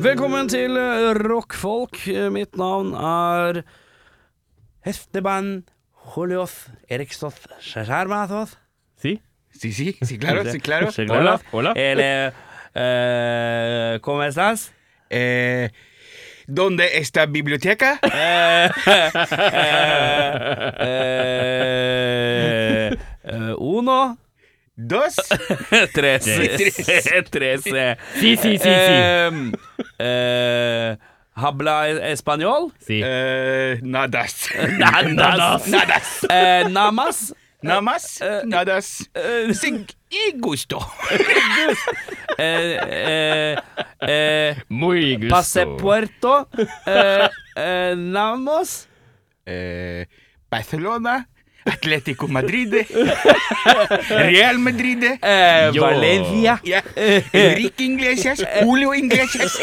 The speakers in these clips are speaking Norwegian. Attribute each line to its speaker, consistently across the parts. Speaker 1: Velkommen til eh, rockfolk. Eh, Mitt navn er Hesteband Holios Eriksdoth Skjærmæthoth.
Speaker 2: Sí,
Speaker 3: Sí, sí, sí, claro, sí, claro.
Speaker 2: Sí, claro. Hola.
Speaker 1: Eller eh, ¿Cómo estás?
Speaker 3: Eh, ¿Dónde está biblioteca?
Speaker 1: Eh, eh, eh, uno,
Speaker 3: Dos.
Speaker 1: tres, tres, eh,
Speaker 2: sí, sí, sí. sí.
Speaker 1: em, eh, Habla español?
Speaker 2: sí.
Speaker 3: Eh, nadas.
Speaker 1: Nadas.
Speaker 3: Nadas.
Speaker 1: Eh, namas?
Speaker 3: Namas. Nadas.
Speaker 1: Eh,
Speaker 3: Sin y gusto.
Speaker 1: eh, eh, eh,
Speaker 2: Muy gusto.
Speaker 1: Pasepuerto eh, eh, Namos
Speaker 3: Eh, Barcelona. Atlético Madrid. Real Madrid.
Speaker 1: eh,
Speaker 2: Yo.
Speaker 1: Valencia
Speaker 3: Ja. Enrique Iglesias. Julio Iglesias.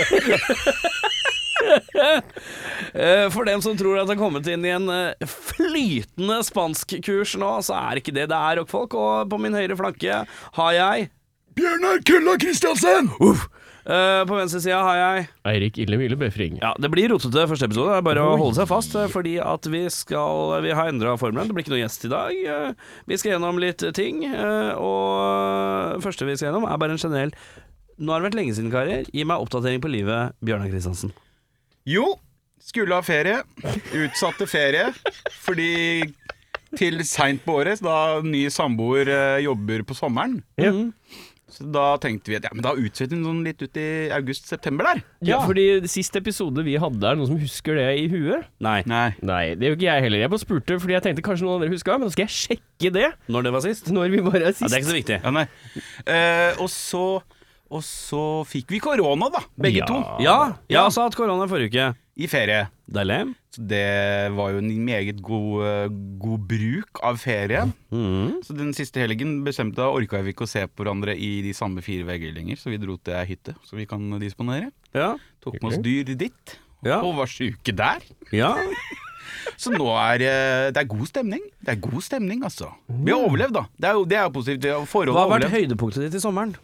Speaker 1: eh, For dem som tror at det har kommet inn i en eh, flytende spanskkurs nå Så er ikke det det er rockfolk Og på min høyre flanke har jeg
Speaker 3: Bjørnar Kulla Kristiansen.
Speaker 1: eh, På venstre sida har jeg
Speaker 2: Eirik Illemile Befring.
Speaker 1: Ja, det blir rotete første episode Det er bare å holde seg fast eh, Fordi at vi skal Vi har endret formelen Det blir ikke noen gjest i dag eh, Vi skal gjennom litt ting eh, Og eh, første vi skal gjennom Er bare en generell Nå har det vært lenge siden, karer Gi meg oppdatering på livet Bjørnar Kristiansen
Speaker 3: Jo, skulle ha ferie. Utsatte ferie. Fordi til seint på året, da ny samboer eh, jobber på sommeren.
Speaker 2: Ja.
Speaker 1: Mm.
Speaker 3: Så da tenkte vi at ja, men da utsetter vi den sånn litt ut i august-september der.
Speaker 2: Ja, fordi sist episode vi hadde, er det noen som husker det i huet?
Speaker 1: Nei,
Speaker 3: Nei.
Speaker 2: Nei, det gjør ikke jeg heller. Jeg bare spurte fordi jeg tenkte kanskje noen andre huska, men nå skal jeg sjekke det
Speaker 1: når det var sist?
Speaker 2: når vi bare er
Speaker 1: Ja,
Speaker 2: sist.
Speaker 1: det er ikke så viktig
Speaker 3: Ja, nei. Eh, og så Og så fikk vi korona, da. Begge
Speaker 2: Ja.
Speaker 3: to.
Speaker 1: Ja, jeg har hatt korona forrige uke
Speaker 3: I ferie.
Speaker 1: Det er lem
Speaker 3: Så det var jo en meget god, eh, god bruk av ferie. Så den siste helgen bestemte jeg orka vi ikke å se på hverandre i de samme fire vegger lenger, så vi dro til ei hytte så vi kan disponere.
Speaker 1: Ja,
Speaker 3: Tok med oss dyr dit,
Speaker 1: Ja.
Speaker 3: og var syke der.
Speaker 1: ja
Speaker 3: Så nå er eh, det er god stemning. Det er god stemning, altså. Vi har overlevd, da. Det er jo det er jo positivt. Vi har- Forholdet
Speaker 1: Mm. Hva
Speaker 3: har
Speaker 1: har vært
Speaker 3: overlevd.
Speaker 1: høydepunktet ditt i sommeren?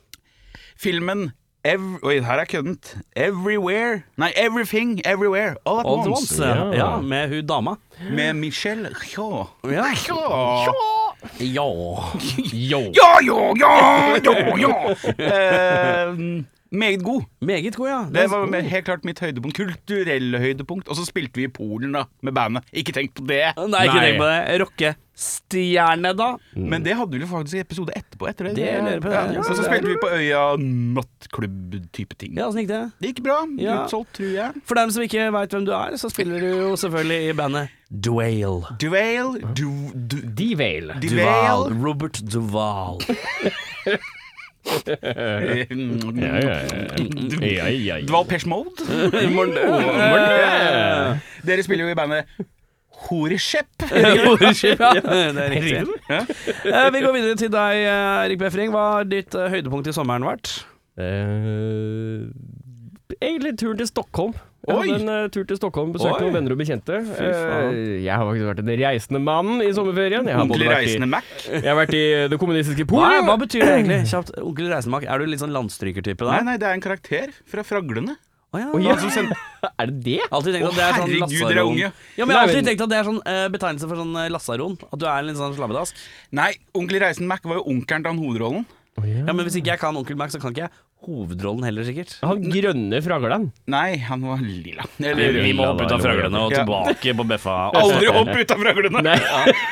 Speaker 3: Filmen Ev Oi, her er køddent. Everywhere Nei, Everything, Everywhere, All at
Speaker 1: All at
Speaker 3: Once.
Speaker 1: once Ja,
Speaker 2: ja.
Speaker 1: ja med hun dama
Speaker 3: Med Michelle Tjå.
Speaker 1: Ja
Speaker 3: Tjå.
Speaker 1: Ja
Speaker 2: Yo.
Speaker 3: Ja, ja, ja, ja, ja. Eh, meget god.
Speaker 1: Meget god, ja
Speaker 3: Det var med, helt klart mitt høydepunkt. Kulturelle høydepunkt. Og så spilte vi i Polen, da, med bandet. Ikke tenk på det.
Speaker 1: Nei, ikke
Speaker 2: Nei.
Speaker 1: tenk på det. Rockestjerne, da?
Speaker 3: Men det hadde vi faktisk i episode etterpå. Etter det.
Speaker 1: Mm. Det lurer jeg på, det.
Speaker 3: Ja, og så spilte vi på Øya nattklubb-type ting.
Speaker 1: Ja, åssen gikk det?
Speaker 3: Det gikk bra.
Speaker 1: Ja.
Speaker 3: Utsolgt, tror jeg.
Speaker 1: For dem som ikke veit hvem du er, så spiller du jo selvfølgelig i bandet Dwale.
Speaker 3: Duel, du, du,
Speaker 2: D-Vale.
Speaker 1: Duval.
Speaker 3: Duel
Speaker 1: Robert Duval.
Speaker 2: Ja, ja,
Speaker 1: Mm.
Speaker 2: ja. ja, ja, ja.
Speaker 3: Dval eh, mm, Pesh Mode. Dere spiller jo i bandet Horeshep.
Speaker 1: ja, det er riktig.
Speaker 2: Herregud.
Speaker 1: Eh, vi går videre til deg, eh, Erik Befring. Hva har ditt eh, høydepunkt i sommeren vært?
Speaker 2: Eh, egentlig turen til Stockholm. Jeg
Speaker 3: Oi!
Speaker 2: hadde en eh, tur til Stockholm,
Speaker 1: Oi!
Speaker 2: besøkte noen venner og bekjente.
Speaker 1: faen.
Speaker 2: Eh, jeg har faktisk vært den reisende mannen i sommerferien. Jeg har, både
Speaker 3: Ordentlig
Speaker 2: vært
Speaker 3: reisende
Speaker 2: i,
Speaker 3: Mac.
Speaker 2: jeg har vært i eh, det kommunistiske
Speaker 1: Nei,
Speaker 2: Polen.
Speaker 1: hva betyr det egentlig? Kjapt, Onkel Reisenbakk, er du litt sånn landstrykertype
Speaker 3: Nei,
Speaker 1: der?
Speaker 3: nei, det er en karakter fra Fraglene.
Speaker 1: Å ja.
Speaker 2: Oi,
Speaker 3: Han som sendte
Speaker 2: Er det det?
Speaker 1: Alltid tenkt
Speaker 3: Å,
Speaker 1: at det er sånn
Speaker 3: herregud, dere er
Speaker 1: lasaron. Ja,
Speaker 3: unge.
Speaker 1: men jeg har
Speaker 2: Nei,
Speaker 1: alltid
Speaker 2: men-
Speaker 1: tenkt at det er sånn eh, betegnelse for sånn eh, lasaron. At du er en litt sånn slabbedask.
Speaker 3: Nei, onkel Reisen Mac var jo onkelen til han hovedrollen.
Speaker 1: Ja, men hvis ikke jeg kan Onkel Mac, så kan ikke jeg hovedrollen heller, sikkert.
Speaker 2: Han grønne fraglan.
Speaker 3: Nei, han var lilla.
Speaker 1: Vi,
Speaker 3: Eller
Speaker 1: vi må hoppe ut av fraglene og
Speaker 3: Ja.
Speaker 1: tilbake på Beffa.
Speaker 3: Aldri hopp ut av fraglene!
Speaker 2: Nei,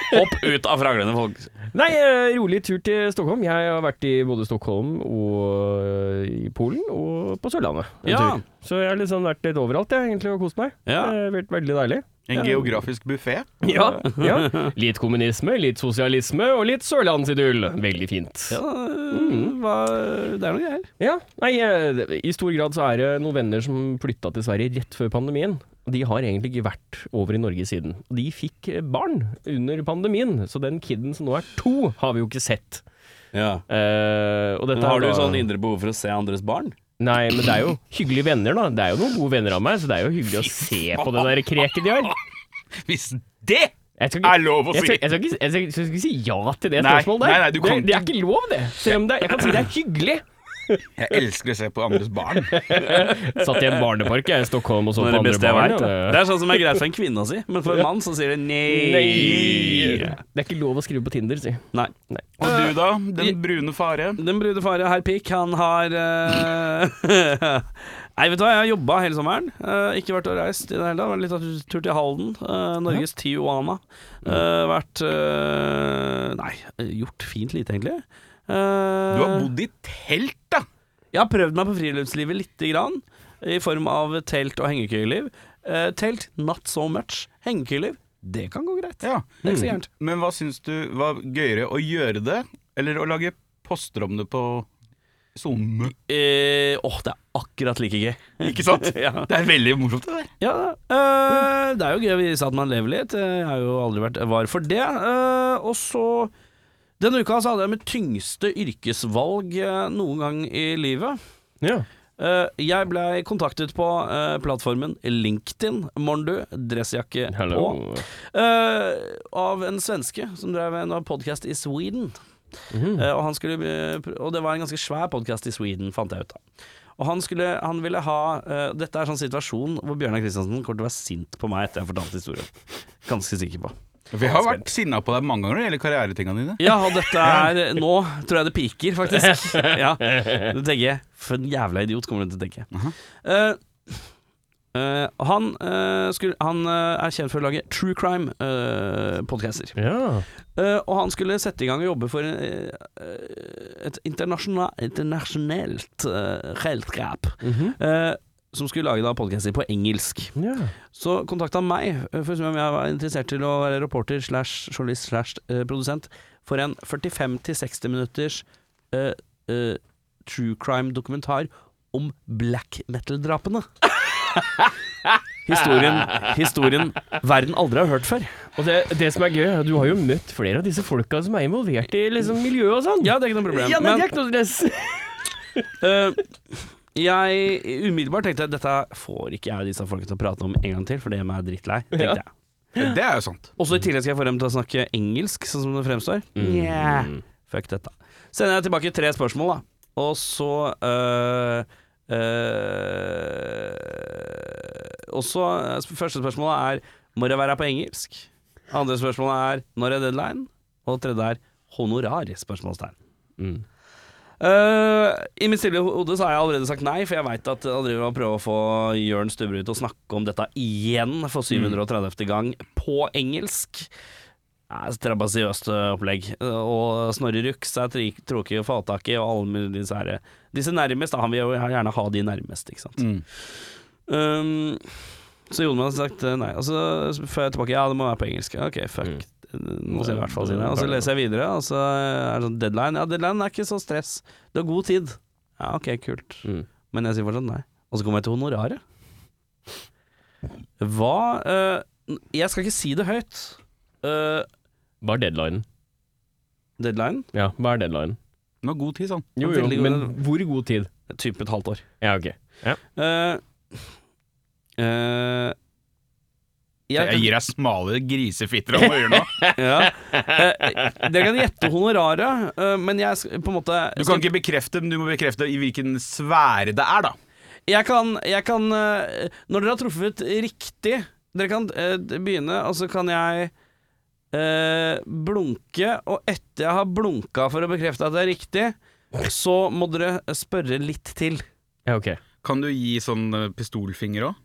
Speaker 1: Hopp ut av fraglene, folk.
Speaker 2: Nei eh, rolig tur til Stockholm. Jeg har vært i både Stockholm og eh, i Polen og på Sørlandet. en
Speaker 1: Ja.
Speaker 2: tur. Så jeg har liksom vært litt overalt jeg, egentlig og kost meg.
Speaker 1: Ja.
Speaker 2: Det har vært veldig deilig.
Speaker 3: En geografisk buffé.
Speaker 2: Ja, ja. Litt kommunisme, litt sosialisme og litt sørlandsidyll. Veldig fint.
Speaker 1: Ja,
Speaker 2: Ja.
Speaker 1: det er noe greier.
Speaker 2: Nei, eh, I stor grad så er det noen venner som flytta til Sverige rett før pandemien. Og De har egentlig ikke vært over i Norge siden. Og De fikk eh, barn under pandemien, så den kiden som nå er to, har vi jo ikke sett. Eh, og dette
Speaker 1: Men har
Speaker 2: er
Speaker 1: du
Speaker 2: da-
Speaker 1: sånn indre behov for å se andres barn?
Speaker 2: Nei, men det er jo hyggelige venner, da. Det er jo noen gode venner av meg, så det er jo hyggelig å se på det der kreket de har.
Speaker 3: Hvis det
Speaker 2: Jeg skal
Speaker 3: er lov å
Speaker 2: jeg skal,
Speaker 3: si!
Speaker 2: jeg, skal ikke, jeg, skal, jeg skal ikke si ja til det
Speaker 3: Nei,
Speaker 2: spørsmålet der.
Speaker 3: nei, nei, du kan
Speaker 2: det, det er ikke lov, det. Selv om det, jeg kan si det er hyggelig.
Speaker 3: Jeg elsker å se på andres barn.
Speaker 2: Satt i en barnepark jeg, i Stockholm og så
Speaker 1: Det
Speaker 2: på
Speaker 1: er det
Speaker 2: andre
Speaker 1: beste jeg
Speaker 2: barn.
Speaker 1: vet. Det.
Speaker 2: ja,
Speaker 1: det er sånn som er greit for en kvinne å si, men for en mann så sier det nei.
Speaker 2: Nei. Det er ikke lov å skrive på Tinder, si.
Speaker 1: Nei.
Speaker 2: Nei.
Speaker 3: Og du da, den brune fare.
Speaker 1: Den brude fare, herr Pikk, han har eh, Nei, vet du hva, jeg har jobba hele sommeren. eh, ikke vært og reist i det hele tatt. Vært litt av tur til Halden. eh, Norges Tijuana. Eh, vært eh, Nei, gjort fint lite, egentlig. Eh,
Speaker 3: Du har bodd i telt, da!
Speaker 1: Jeg har prøvd meg på friluftslivet lite grann, i form av telt og hengekøyeliv. Eh, telt, not so much. Hengekøyeliv, det kan gå greit.
Speaker 3: Ja.
Speaker 1: Det er ikke så gærent.
Speaker 3: Men hva syns du var gøyere, å gjøre det, eller å lage poster om det på SoMe?
Speaker 1: Eh, Åh, det er akkurat like gøy.
Speaker 3: Ikke sant?
Speaker 1: Ja.
Speaker 3: Det er veldig morsomt, det der.
Speaker 1: Ja, øh, det er jo gøy å vise at man lever litt. Eh, Jeg har jo aldri vært var for det. Øh, og så Denne uka så hadde jeg mitt tyngste yrkesvalg øh, noen gang i livet.
Speaker 2: Ja.
Speaker 1: Eh, jeg blei kontaktet på eh, plattformen LinkedIn, Morndu, dressjakke
Speaker 2: Hello.
Speaker 1: på, eh, av en svenske som drev en podkast i Sweden. Eh, og, han skulle, eh, pr- og det var en ganske svær podkast i Sweden, fant jeg ut av. Og han, skulle, han ville ha eh, Dette er sånn situasjon hvor Bjørnar Kristiansen kommer til å være sint på meg etter jeg har fortalt historien. Ganske sikker på.
Speaker 3: Vi har vært sinna på deg mange ganger når det gjelder karrieretingene dine.
Speaker 1: Ja, og dette er Nå tror jeg det piker, faktisk. Ja, Det tenker jeg. For en jævla idiot, kommer du til å tenke. Eh, eh, han eh, skulle, han eh, er kjent for å lage true eh, crime-podcaster.
Speaker 2: Ja.
Speaker 1: Eh, og han skulle sette i gang og jobbe for eh, eh, et internasjonal, internasjonalt uh, selskap
Speaker 2: Mhm.
Speaker 1: eh, som skulle lage da podcaster på engelsk.
Speaker 2: ja.
Speaker 1: Så kontakta han meg eh, for å se om jeg var interessert til å være reporter slash journalist slash eh, produsent for en 45-60 minutters eh, eh, true crime-dokumentar om black metal-drapene. historien, historien verden aldri har hørt før.
Speaker 2: Og det, det som er gøy, er at du har jo møtt flere av disse folka som er involvert i liksom, miljøet og sånn.
Speaker 1: Ja, det er ikke noe problem.
Speaker 2: Ja, nei, det
Speaker 1: men
Speaker 2: er ikke noe stress.
Speaker 1: Eh, jeg umiddelbart tenkte at dette får ikke jeg og disse folka til å prate om en gang til, for det gjør meg drittlei. tenkte
Speaker 2: Ja.
Speaker 1: jeg.
Speaker 3: Det er jo sant.
Speaker 1: Og så i tillegg skal jeg få dem til å snakke engelsk, sånn som det fremstår. Nja, Fuck dette. Sender jeg tilbake tre spørsmål, da. Og så øh, øh, Og så eh, Første spørsmålet er Må det være på engelsk? Andre spørsmålet er Når er deadline? Og tredje er Honorar? Spørsmålstegn.
Speaker 2: Mm.
Speaker 1: Eh, I mitt stille hode så har jeg allerede sagt nei, for jeg veit at han driver og prøver å få Jørn Stubberud til å snakke om dette igjen for 730. gang på engelsk. Det er et Strabasiøst eh, opplegg. Eh, Og Snorre Rux er tri- tråkig å få tak i, og alle mulige disse herre Disse nærmest, da. Han vil jo gjerne ha de nærmest, ikke sant.
Speaker 3: Mm.
Speaker 1: Um, så Jonman har sagt eh, nei, og så får jeg tilbake ja, det må være på engelsk. Ok, fuck. Nå sier jeg i hvert fall si det. Og så leser jeg videre, og så er det sånn deadline. Ja, deadline er ikke så stress. Du har god tid. Ja, ok, kult.
Speaker 2: Mm.
Speaker 1: Men jeg sier fortsatt nei. Og så kommer jeg til honoraret. Hva eh, Jeg skal ikke si det høyt. Eh,
Speaker 2: Hva er deadlinen?
Speaker 1: deadline?
Speaker 2: Ja, hva er deadlinen?
Speaker 3: Den var god tid, sånn.
Speaker 2: Jo, jo,
Speaker 1: Veldig god
Speaker 2: men
Speaker 1: deadline.
Speaker 2: hvor god tid?
Speaker 1: Type et halvt år.
Speaker 2: Ja, ok.
Speaker 1: Eh, eh,
Speaker 3: Jeg gir deg smale grisefitter om å gjøre noe.
Speaker 1: Ja. Eh, dere kan gjette honoraret, eh, men jeg sk- på en måte
Speaker 3: Du kan ikke bekrefte, men du må bekrefte i hvilken sfære det er, da.
Speaker 1: Jeg kan, jeg kan eh, Når dere har truffet riktig Dere kan eh, begynne, og så kan jeg eh, blunke, og etter jeg har blunka for å bekrefte at det er riktig, så må dere spørre litt til.
Speaker 2: Ja, ok.
Speaker 3: Kan du gi sånn eh, pistolfinger òg?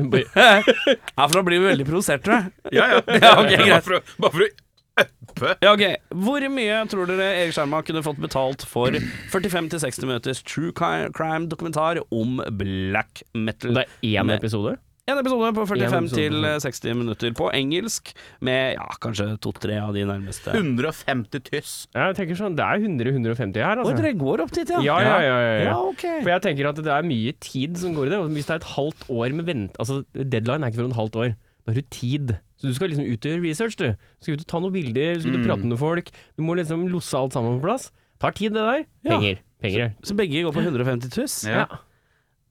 Speaker 2: Bare-
Speaker 1: Ja, for da blir vi veldig provosert, tror jeg.
Speaker 3: Ja, ja.
Speaker 1: Ja, ok, greit.
Speaker 3: bare for å, bare for å uppe.
Speaker 1: Ja, ok. Hvor mye tror dere Erik Skjerma kunne fått betalt for 45-60 minutters true cri- crime-dokumentar om black metal?
Speaker 2: Det er én episode?
Speaker 1: En episode på 45
Speaker 2: episode.
Speaker 1: til eh, 60 minutter på engelsk, med ja, kanskje to-tre av de nærmeste.
Speaker 3: 150 tyss.
Speaker 2: Ja, jeg tenker sånn, det er 100-150 her,
Speaker 1: Oi,
Speaker 2: altså.
Speaker 1: dere går opp dit,
Speaker 2: Ja,
Speaker 1: ja?
Speaker 2: ja, ja. ja, ja.
Speaker 1: Ja, ok.
Speaker 2: For jeg tenker at det er mye tid som går i det. Og hvis det er et halvt år med vent... Altså, deadline er ikke for et halvt år. Da har du tid. Så du skal liksom ut og gjøre research, du. Du skal ut og ta noen bilder, du skal ut og
Speaker 1: Mm.
Speaker 2: prate med folk. Du må liksom losse alt sammen på plass. Tar tid, det der.
Speaker 1: Ja.
Speaker 2: Penger. Penger.
Speaker 1: Så begge går på 150 000?
Speaker 3: Ja.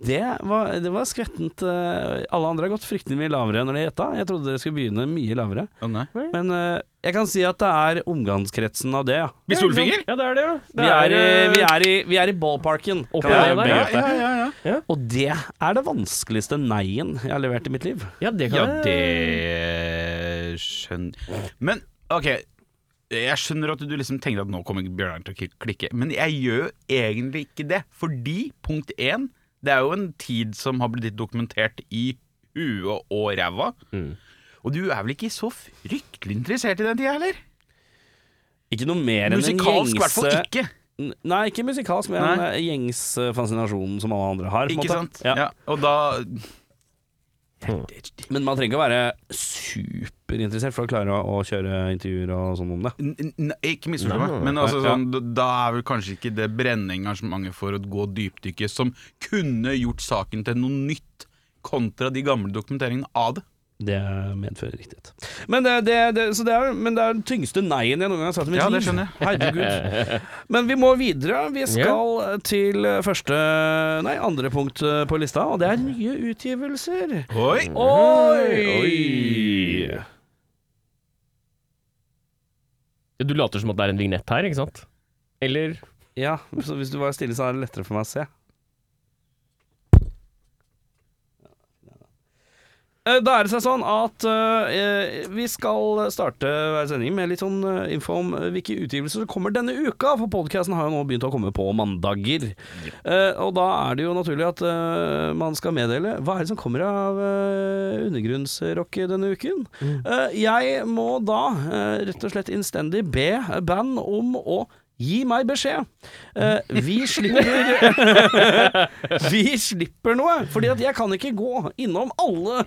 Speaker 1: Det var, det var skvettent. eh, Alle andre har gått fryktelig mye lavere når de gjetta. Jeg trodde dere skulle begynne mye lavere.
Speaker 3: Å nei.
Speaker 1: Men eh, jeg kan si at det er omgangskretsen av det, ja.
Speaker 3: Med solfinger?
Speaker 2: Ja, det er eh, det,
Speaker 1: Vi
Speaker 2: ja.
Speaker 1: er, i- vi er, i, vi er i ballparken.
Speaker 2: Oppe
Speaker 1: Kan jeg
Speaker 2: der, der,
Speaker 1: begynne?
Speaker 2: ja.
Speaker 3: ja, ja.
Speaker 1: Og det er det vanskeligste nei-en jeg har levert i mitt liv.
Speaker 2: Ja, det
Speaker 3: Ja,
Speaker 2: kan
Speaker 3: det skjønner Men ok, jeg skjønner at du liksom tenker at nå kommer Bjørnar til å kli- klikke, men jeg gjør egentlig ikke det. Fordi, punkt én, det er jo en tid som har blitt dokumentert i huet og ræva.
Speaker 1: Mm.
Speaker 3: Og du er vel ikke så fryktelig interessert i den tida heller?
Speaker 1: Ikke noe mer enn en
Speaker 3: Musikalsk i hvert fall
Speaker 1: gjengse-
Speaker 3: ikke.
Speaker 1: N- Nei, ikke musikalsk, men en eh, gjengs eh, fascinasjon som alle andre har. på en
Speaker 3: Ikke
Speaker 1: måte.
Speaker 3: sant?
Speaker 1: Ja.
Speaker 3: Ja, og da
Speaker 1: Men man trenger ikke å være superinteressert for å klare å, å kjøre intervjuer og sånn om det.
Speaker 3: N- n- Ikke misforstå meg, men altså,
Speaker 1: Ja.
Speaker 3: sånn, d- da er vel kanskje ikke det brennende engasjementet for å gå dypdykket som kunne gjort saken til noe nytt, kontra de gamle dokumenteringene av det.
Speaker 1: Det medfører riktighet. Men det, det, det, så det er, men det er den tyngste nei-en jeg noen gang har sagt i mitt
Speaker 3: Ja,
Speaker 1: liv.
Speaker 3: det skjønner jeg.
Speaker 1: Herregud. Men vi må videre. Vi skal til første Nei, andre punkt eh, på lista, og det er nye utgivelser.
Speaker 3: Oi!
Speaker 1: Oi!
Speaker 2: det. Du later som at det er en vignett her, ikke sant? Eller
Speaker 1: Ja, så hvis du var stille, så er det lettere for meg å se. Eh, Da er det seg sånn at eh, vi skal starte hver sending med litt sånn eh, info om eh, hvilke utgivelser som kommer denne uka, for podkasten har jo nå begynt å komme på mandager. Eh, og da er det jo naturlig at eh, man skal meddele hva er det som kommer av eh, undergrunnsrock denne uken. Eh, jeg må da eh, rett og slett innstendig be band om å Gi meg beskjed. Eh, vi slipper Vi slipper noe. Fordi at jeg kan ikke gå innom alle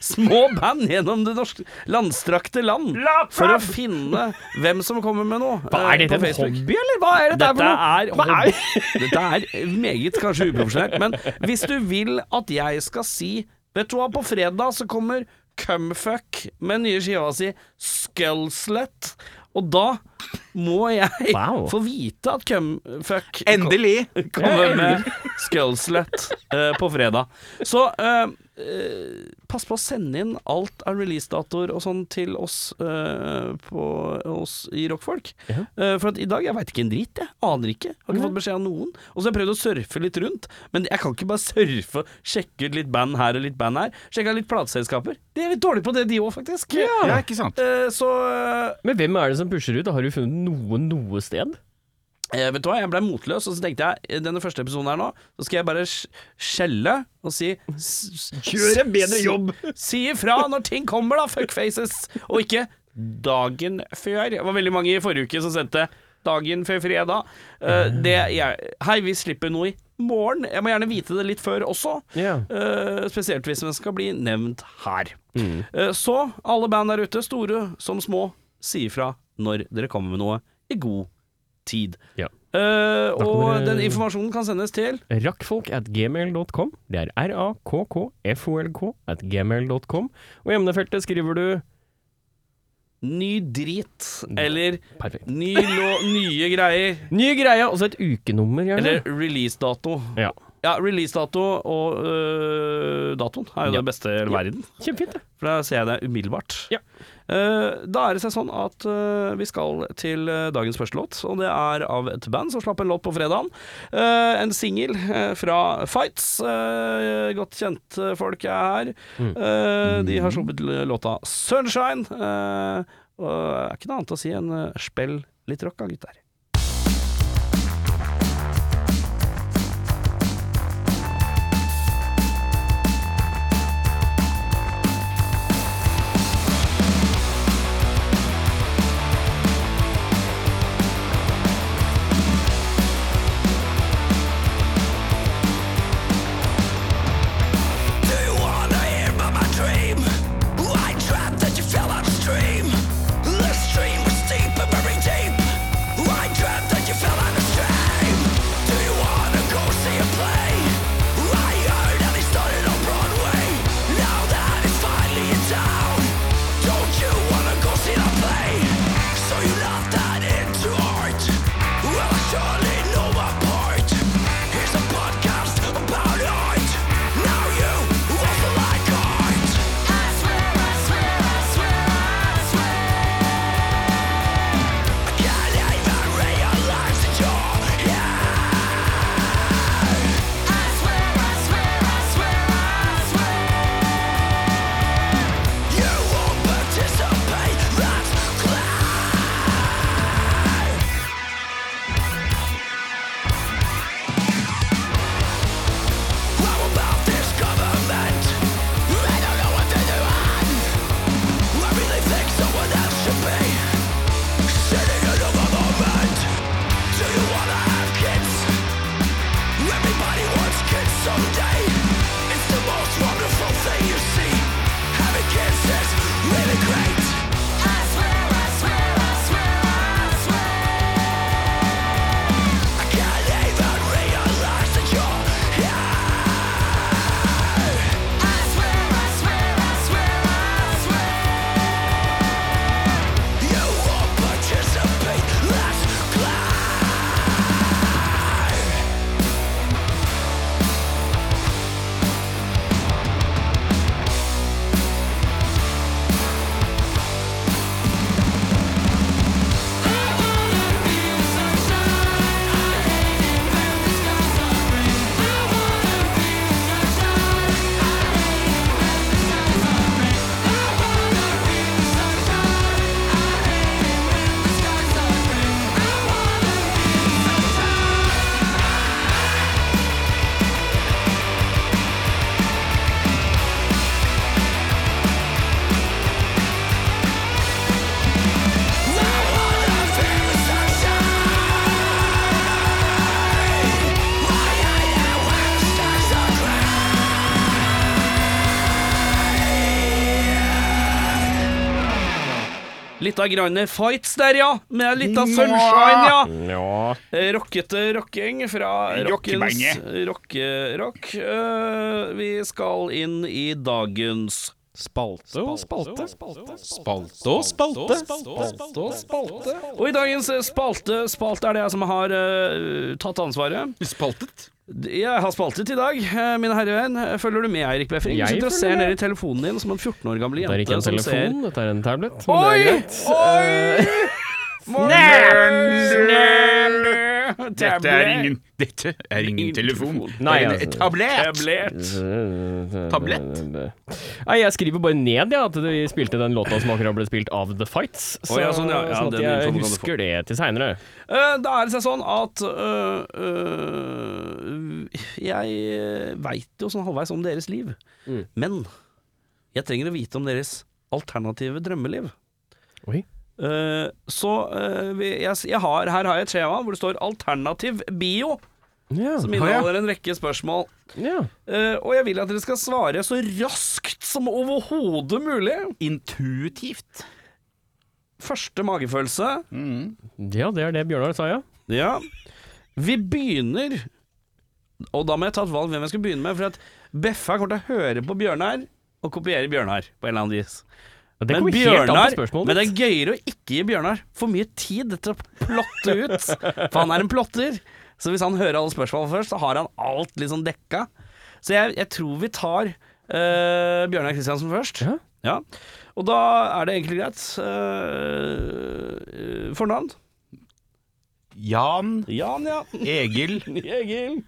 Speaker 1: små band gjennom det norske landstrakte land for å finne hvem som kommer med noe.
Speaker 2: Hva
Speaker 1: eh,
Speaker 2: er dette,
Speaker 1: på
Speaker 2: en
Speaker 1: Facebook.
Speaker 2: hobby,
Speaker 1: eller? Hva er
Speaker 2: dette her for
Speaker 1: er
Speaker 2: noe? Hva er-
Speaker 1: Dette er meget kanskje uprofesjonelt, men hvis du vil at jeg skal si Vet du hva, på fredag så kommer Cumfuck med nye skiva si Skullslet, og da må jeg
Speaker 2: Wow.
Speaker 1: få vite at Cumfuck
Speaker 3: Endelig!
Speaker 1: kommer med Skullslet eh, på fredag. Så eh, eh, pass på å sende inn alt av releasedatoer og sånn til oss, eh, på, oss i rockfolk. Eh, for at i dag, jeg veit ikke en drit, jeg. Aner ikke. Har ikke fått beskjed av noen. Og så har jeg prøvd å surfe litt rundt, men jeg kan ikke bare surfe og sjekke ut litt band her og litt band her. Sjekka litt plateselskaper. De er litt dårlige på det, de òg, faktisk.
Speaker 3: Ja, ikke sant?
Speaker 1: Eh, så eh,
Speaker 2: Men hvem er det som pusher ut? Har du funnet noe noe sted?
Speaker 1: Eh, vet du hva, jeg ble motløs, og så tenkte jeg eh, denne første episoden her nå, så skal jeg bare sk- skjelle og si Gjør en bedre jobb! Si ifra når ting kommer, da, fuckfaces! Og ikke dagen før. Det var veldig mange i forrige uke som sendte dagen før fredag. Eh, det jeg, Hei, vi slipper noe i morgen. Jeg må gjerne vite det litt før også.
Speaker 2: Ja.
Speaker 1: Eh, spesielt hvis den skal bli nevnt her.
Speaker 2: Mm.
Speaker 1: Eh, så alle band der ute, store som små, si ifra når dere kommer med noe i god tid.
Speaker 2: Ja.
Speaker 1: Eh,
Speaker 2: Da
Speaker 1: og
Speaker 2: kommer det-
Speaker 1: den informasjonen kan sendes til
Speaker 2: Rakkfolk at gmail.com. Det er r-a-k-k-f-o-l-k at gmail.com. Og i emnefeltet skriver du
Speaker 1: ny drit, eller
Speaker 2: Perfekt.
Speaker 1: ny lå, nye greier,
Speaker 2: Nye greia, og så et ukenummer, gjerne.
Speaker 1: eller releasedato.
Speaker 2: Ja.
Speaker 1: Ja, releasedato og øh, datoen er jo
Speaker 2: Ja.
Speaker 1: det beste i hele verden.
Speaker 2: Kjempefint, det.
Speaker 1: For da ser jeg det umiddelbart.
Speaker 2: Ja.
Speaker 1: Eh, da er det seg sånn at eh, vi skal til eh, dagens første låt, og det er av et band som slapp en låt på fredagen. Eh, en singel eh, fra Fights. Eh, godt kjente folk er her.
Speaker 2: Mm.
Speaker 1: Eh, de har sluppet l- låta 'Sunshine'. eh, og det er ikke noe annet å si enn eh, spill litt rock, da, gutter.
Speaker 4: Do you wanna hear about my dream? I dreamt that you fell upstream. The stream was deep and very deep. I
Speaker 1: Litt av grann fights der, ja. Med litt av sunshine, ja.
Speaker 2: Ja.
Speaker 1: Eh, Rockete rocking fra rockens
Speaker 3: Rockebandet.
Speaker 1: rockerock. Eh, vi skal inn i dagens
Speaker 5: Spalte og spalte. Spalte
Speaker 3: Spalte og spalte.
Speaker 5: og spalte.
Speaker 1: Og i dagens eh, spalte Spalte er det jeg som har eh, tatt ansvaret.
Speaker 3: Spaltet?
Speaker 1: Jeg har spaltet i dag, eh, mine herrevenn. Følger du med, Eirik Befring? Du
Speaker 2: Jeg
Speaker 1: sitter og
Speaker 2: følger
Speaker 1: ser
Speaker 2: med.
Speaker 1: ned i telefonen din som en 14 år gammel
Speaker 2: Det er ikke
Speaker 1: jente
Speaker 2: en
Speaker 1: som ser
Speaker 2: telefon, dette er en tablet. men det er
Speaker 1: Oi!
Speaker 2: greit.
Speaker 1: Oi! Eh, Snell!
Speaker 3: Dette er ingen Dette er ingen
Speaker 1: Ingen
Speaker 3: telefon.
Speaker 1: telefon.
Speaker 2: Nei,
Speaker 3: Det er en
Speaker 2: altså.
Speaker 3: Tablett!
Speaker 1: Tablett.
Speaker 3: Tablett?
Speaker 2: Nei, jeg skriver bare ned ja, at vi spilte den låta som akkurat ble spilt av The Fights. Så,
Speaker 1: Å, ja, sånn, ja. Ja,
Speaker 2: sånn
Speaker 1: den
Speaker 2: at jeg
Speaker 1: infoen kan du få.
Speaker 2: husker det til seinere.
Speaker 1: Eh, Da er det seg sånn at øh, øh, Jeg veit jo sånn halvveis om deres liv,
Speaker 2: Mm.
Speaker 1: men jeg trenger å vite om deres alternative drømmeliv.
Speaker 2: Oi.
Speaker 1: Eh, så eh, vi, jeg, s- jeg har, her har jeg et skjema hvor det står 'alternativ bio',
Speaker 2: Ja.
Speaker 1: som
Speaker 3: ja.
Speaker 1: inneholder en rekke spørsmål.
Speaker 2: ja.
Speaker 1: Eh, og jeg vil at dere skal svare så raskt som overhodet mulig.
Speaker 3: Intuitivt.
Speaker 1: Første magefølelse.
Speaker 2: ja, det er det Bjørnar sa, ja.
Speaker 1: Ja. Vi begynner Og da må jeg ta et valg hvem jeg skal begynne med. For at Beffa kommer til å høre på Bjørnar og kopiere Bjørnar på en eller annen vis.
Speaker 2: Det
Speaker 1: Men,
Speaker 2: kommer helt an
Speaker 1: Bjørnar,
Speaker 2: på spørsmålet
Speaker 1: men det
Speaker 2: ditt.
Speaker 1: er gøyere å ikke gi Bjørnar for mye tid til å plotte ut. For han er en plotter. Så hvis han hører alle spørsmålene først, så har han alt liksom dekka. Så jeg, jeg tror vi tar eh, Bjørnar Kristiansen først.
Speaker 2: Ja.
Speaker 1: Og da er det egentlig greit. Eh, fornavn?
Speaker 3: Jan
Speaker 1: Jan, ja.
Speaker 3: Egil
Speaker 1: Egil.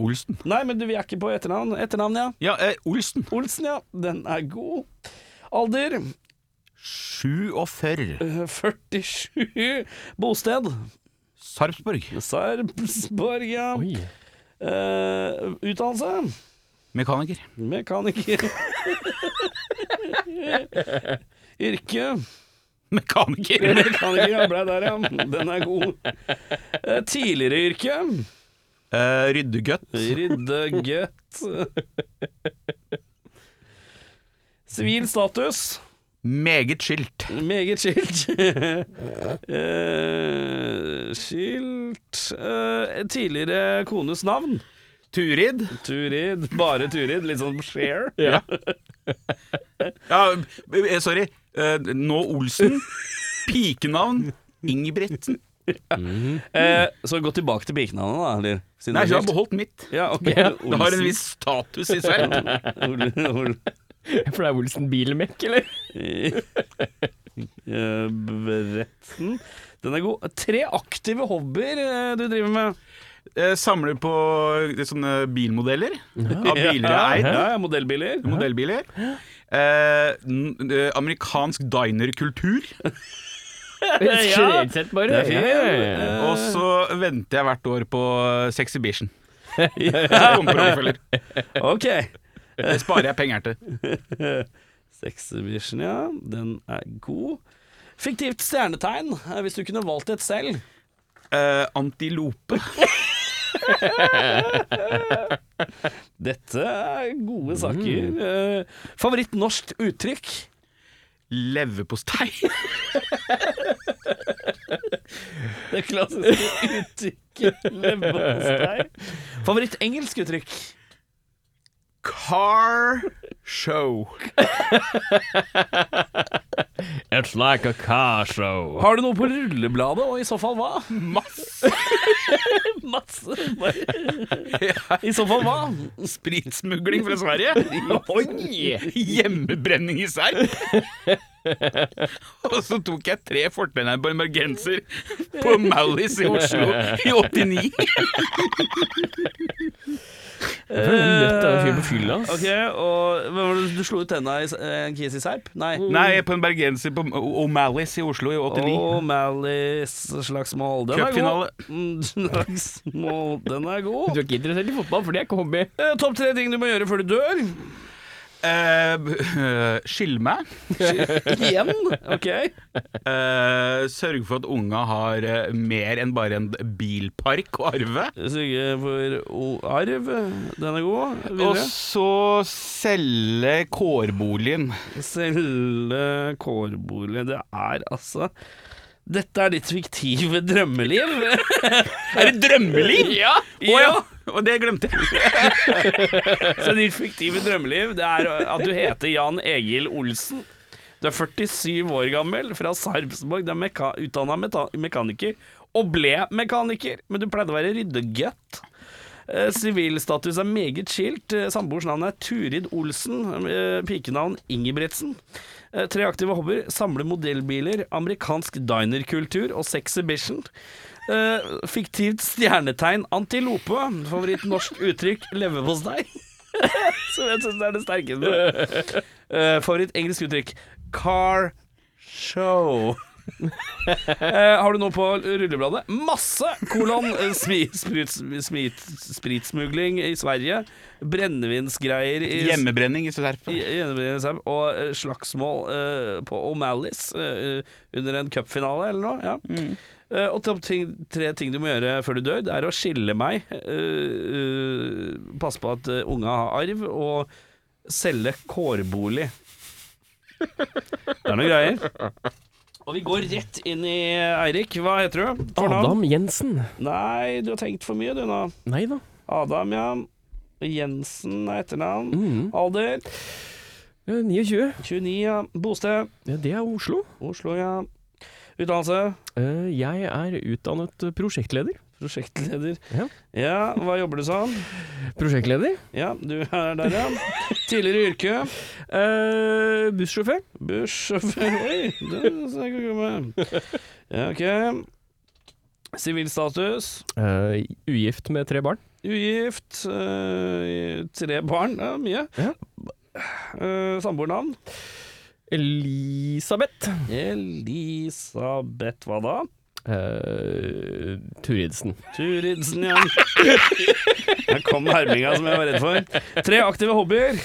Speaker 3: Olsen.
Speaker 1: Nei, men du, vi er ikke på etternavn. Etternavn, ja.
Speaker 3: Ja, eh, Olsen.
Speaker 1: Olsen, ja. Den er god. Alder
Speaker 3: 47.
Speaker 1: eh, 47. Bosted
Speaker 3: Sarpsborg.
Speaker 1: Sarpsborg, ja.
Speaker 2: Oi.
Speaker 1: Eh, utdannelse
Speaker 3: Mekaniker.
Speaker 1: mekaniker. Yrke
Speaker 3: Mekaniker.
Speaker 1: mekaniker, ja. Ble der, ja. Den er god. Eh, tidligere yrke
Speaker 3: Eh, Ryddegutt.
Speaker 1: ryddegutt. Sivil status
Speaker 3: Meget skilt.
Speaker 1: Meget skilt. Eh, skilt eh, Tidligere kones navn.
Speaker 3: Turid.
Speaker 1: Turid. Bare Turid. Litt sånn share.
Speaker 3: Ja. ja eh, sorry. Eh, nå Olsen. Pikenavn. Ingebrigtsen.
Speaker 1: Eh, så gå tilbake til pikenavnet, da. Eller, siden
Speaker 3: Nei,
Speaker 1: det er
Speaker 3: jeg har
Speaker 1: skilt.
Speaker 3: beholdt mitt.
Speaker 1: ja, ok.
Speaker 3: Det har en viss status i seg.
Speaker 1: Olsen. Ol- Ol-
Speaker 2: For det er Olsen Bilmek, eller?
Speaker 1: Eh, Bretten. Den er god. Tre aktive hobbyer eh, du driver med.
Speaker 3: Eh, samler på eh, sånne bilmodeller. Av biler jeg har eid.
Speaker 1: Ja, ja, modellbiler.
Speaker 3: Modellbiler. Eh, n- eh, amerikansk dinerkultur.
Speaker 1: Ja.
Speaker 2: Generelt sett, bare.
Speaker 1: Det er fint.
Speaker 2: Ja, ja,
Speaker 1: Eh.
Speaker 2: ja.
Speaker 3: Og så venter jeg hvert år på eh, Sexibition. Så kommer porteføljer.
Speaker 1: Eh, Ok.
Speaker 3: Det sparer jeg penger til.
Speaker 1: Sexhibition, ja. Den er god. Fiktivt stjernetegn, eh, hvis du kunne valgt et selv.
Speaker 3: Eh, antilope.
Speaker 1: Dette er gode saker. Eh, favoritt norsk uttrykk?
Speaker 3: Leverpostei.
Speaker 1: Det klassiske uttrykket leverpostei. Favoritt engelsk uttrykk?
Speaker 3: Car show.
Speaker 2: It's like a car show.
Speaker 1: Har du noe på rullebladet, og i så fall hva?
Speaker 3: Masse
Speaker 1: Masse. I så fall hva?
Speaker 3: spritsmugling fra Sverige. Hjemmebrenning i Serb. Og så tok jeg tre fortennene på en bergenser på Mallis i Oslo i 89.
Speaker 2: Det er nødt til å fyre på fylla, ass.
Speaker 1: Ok, og hva var det du slo ut tenna i s- eh, en kis i Serp? Nei.
Speaker 3: Nei, på en bergenser på O'Mallis i Oslo i 89.
Speaker 1: O'Mallys-slagsmål. Den er god.
Speaker 3: Cupfinale.
Speaker 1: Mm, Slagsmål. Den er
Speaker 2: Du
Speaker 1: god.
Speaker 2: er ikke interessert i fotball, for det er ikke hobby.
Speaker 1: Eh, Topp tre ting du må gjøre før du dør.
Speaker 3: Eh, Skyll meg.
Speaker 1: Igjen? Ok.
Speaker 3: Eh, sørg for at unga har eh, mer enn bare en bilpark å arve.
Speaker 1: Sørge for o- arv. Den er god.
Speaker 3: Og
Speaker 1: Videre.
Speaker 3: så selge kårboligen.
Speaker 1: Selge kårbolig. Det er altså Dette er ditt fiktive drømmeliv.
Speaker 3: Er det drømmeliv?
Speaker 1: ja!
Speaker 3: Å ja! Og det glemte jeg.
Speaker 1: Så ditt fiktive drømmeliv, det er at du heter Jan Egil Olsen. Du er 47 år gammel, fra Sarpsborg. Du er meka utdanna meta- mekaniker, og ble mekaniker, men du pleide å være ryddegøtt. Eh, Sivilstatus er meget skilt. Eh, Samboers navn er Turid Olsen. Eh, Pikenavn Ingebrigtsen. Eh, Tre aktive hobbyer. Samle modellbiler, amerikansk dinerkultur og sexhibition. Eh, Fiktivt stjernetegn antilope. Favoritt norsk uttrykk leverpostei. Som jeg syns er det sterkeste. Eh, favoritt engelsk uttrykk car show. Eh, har du noe på rullebladet? Masse! Kolon eh, smi, sprut, smit, spritsmugling i Sverige. Brennevinsgreier i
Speaker 3: Hjemmebrenning i Serpa.
Speaker 1: i- i Hjemmebrenningsheim. Og eh, slagsmål eh, på O'Malleys eh, under en cupfinale eller noe. Ja. Eh, og topp ting, tre ting du må gjøre før du dør, det er å skille meg. eh, eh, passe på at eh, unga har arv, og selge kårbolig. Det er noen greier. Og vi går rett inn i eh, Eirik. Hva heter du? For navn?
Speaker 2: Adam Jensen.
Speaker 1: Nei, du har tenkt for mye du nå.
Speaker 2: Nei da.
Speaker 1: Adam, ja. Jensen er etternavn.
Speaker 2: Mm.
Speaker 1: Alder?
Speaker 2: Ja, 29.
Speaker 1: 29, ja. Bosted?
Speaker 2: Ja, det er Oslo.
Speaker 1: Oslo, ja. Utdannelse?
Speaker 2: Eh, jeg er utdannet prosjektleder.
Speaker 1: Prosjektleder.
Speaker 2: Ja.
Speaker 1: Ja, hva jobber du som?
Speaker 2: Prosjektleder?
Speaker 1: Ja, du er der, ja. Tidligere yrke?
Speaker 2: Eh, bussjåfør.
Speaker 1: Bussjåfør Oi, det skal jeg ikke komme Ja, ok. Sivilstatus?
Speaker 2: Eh, ugift med tre barn.
Speaker 1: Ugift. eh, tre barn? Ja, mye.
Speaker 2: Ja.
Speaker 1: Eh, Samboernavn?
Speaker 2: Elisabeth.
Speaker 1: Elisabeth hva da?
Speaker 2: Eh, Turidsen.
Speaker 1: Turidsen, ja. Her kom herminga som jeg var redd for. Tre aktive hobbyer.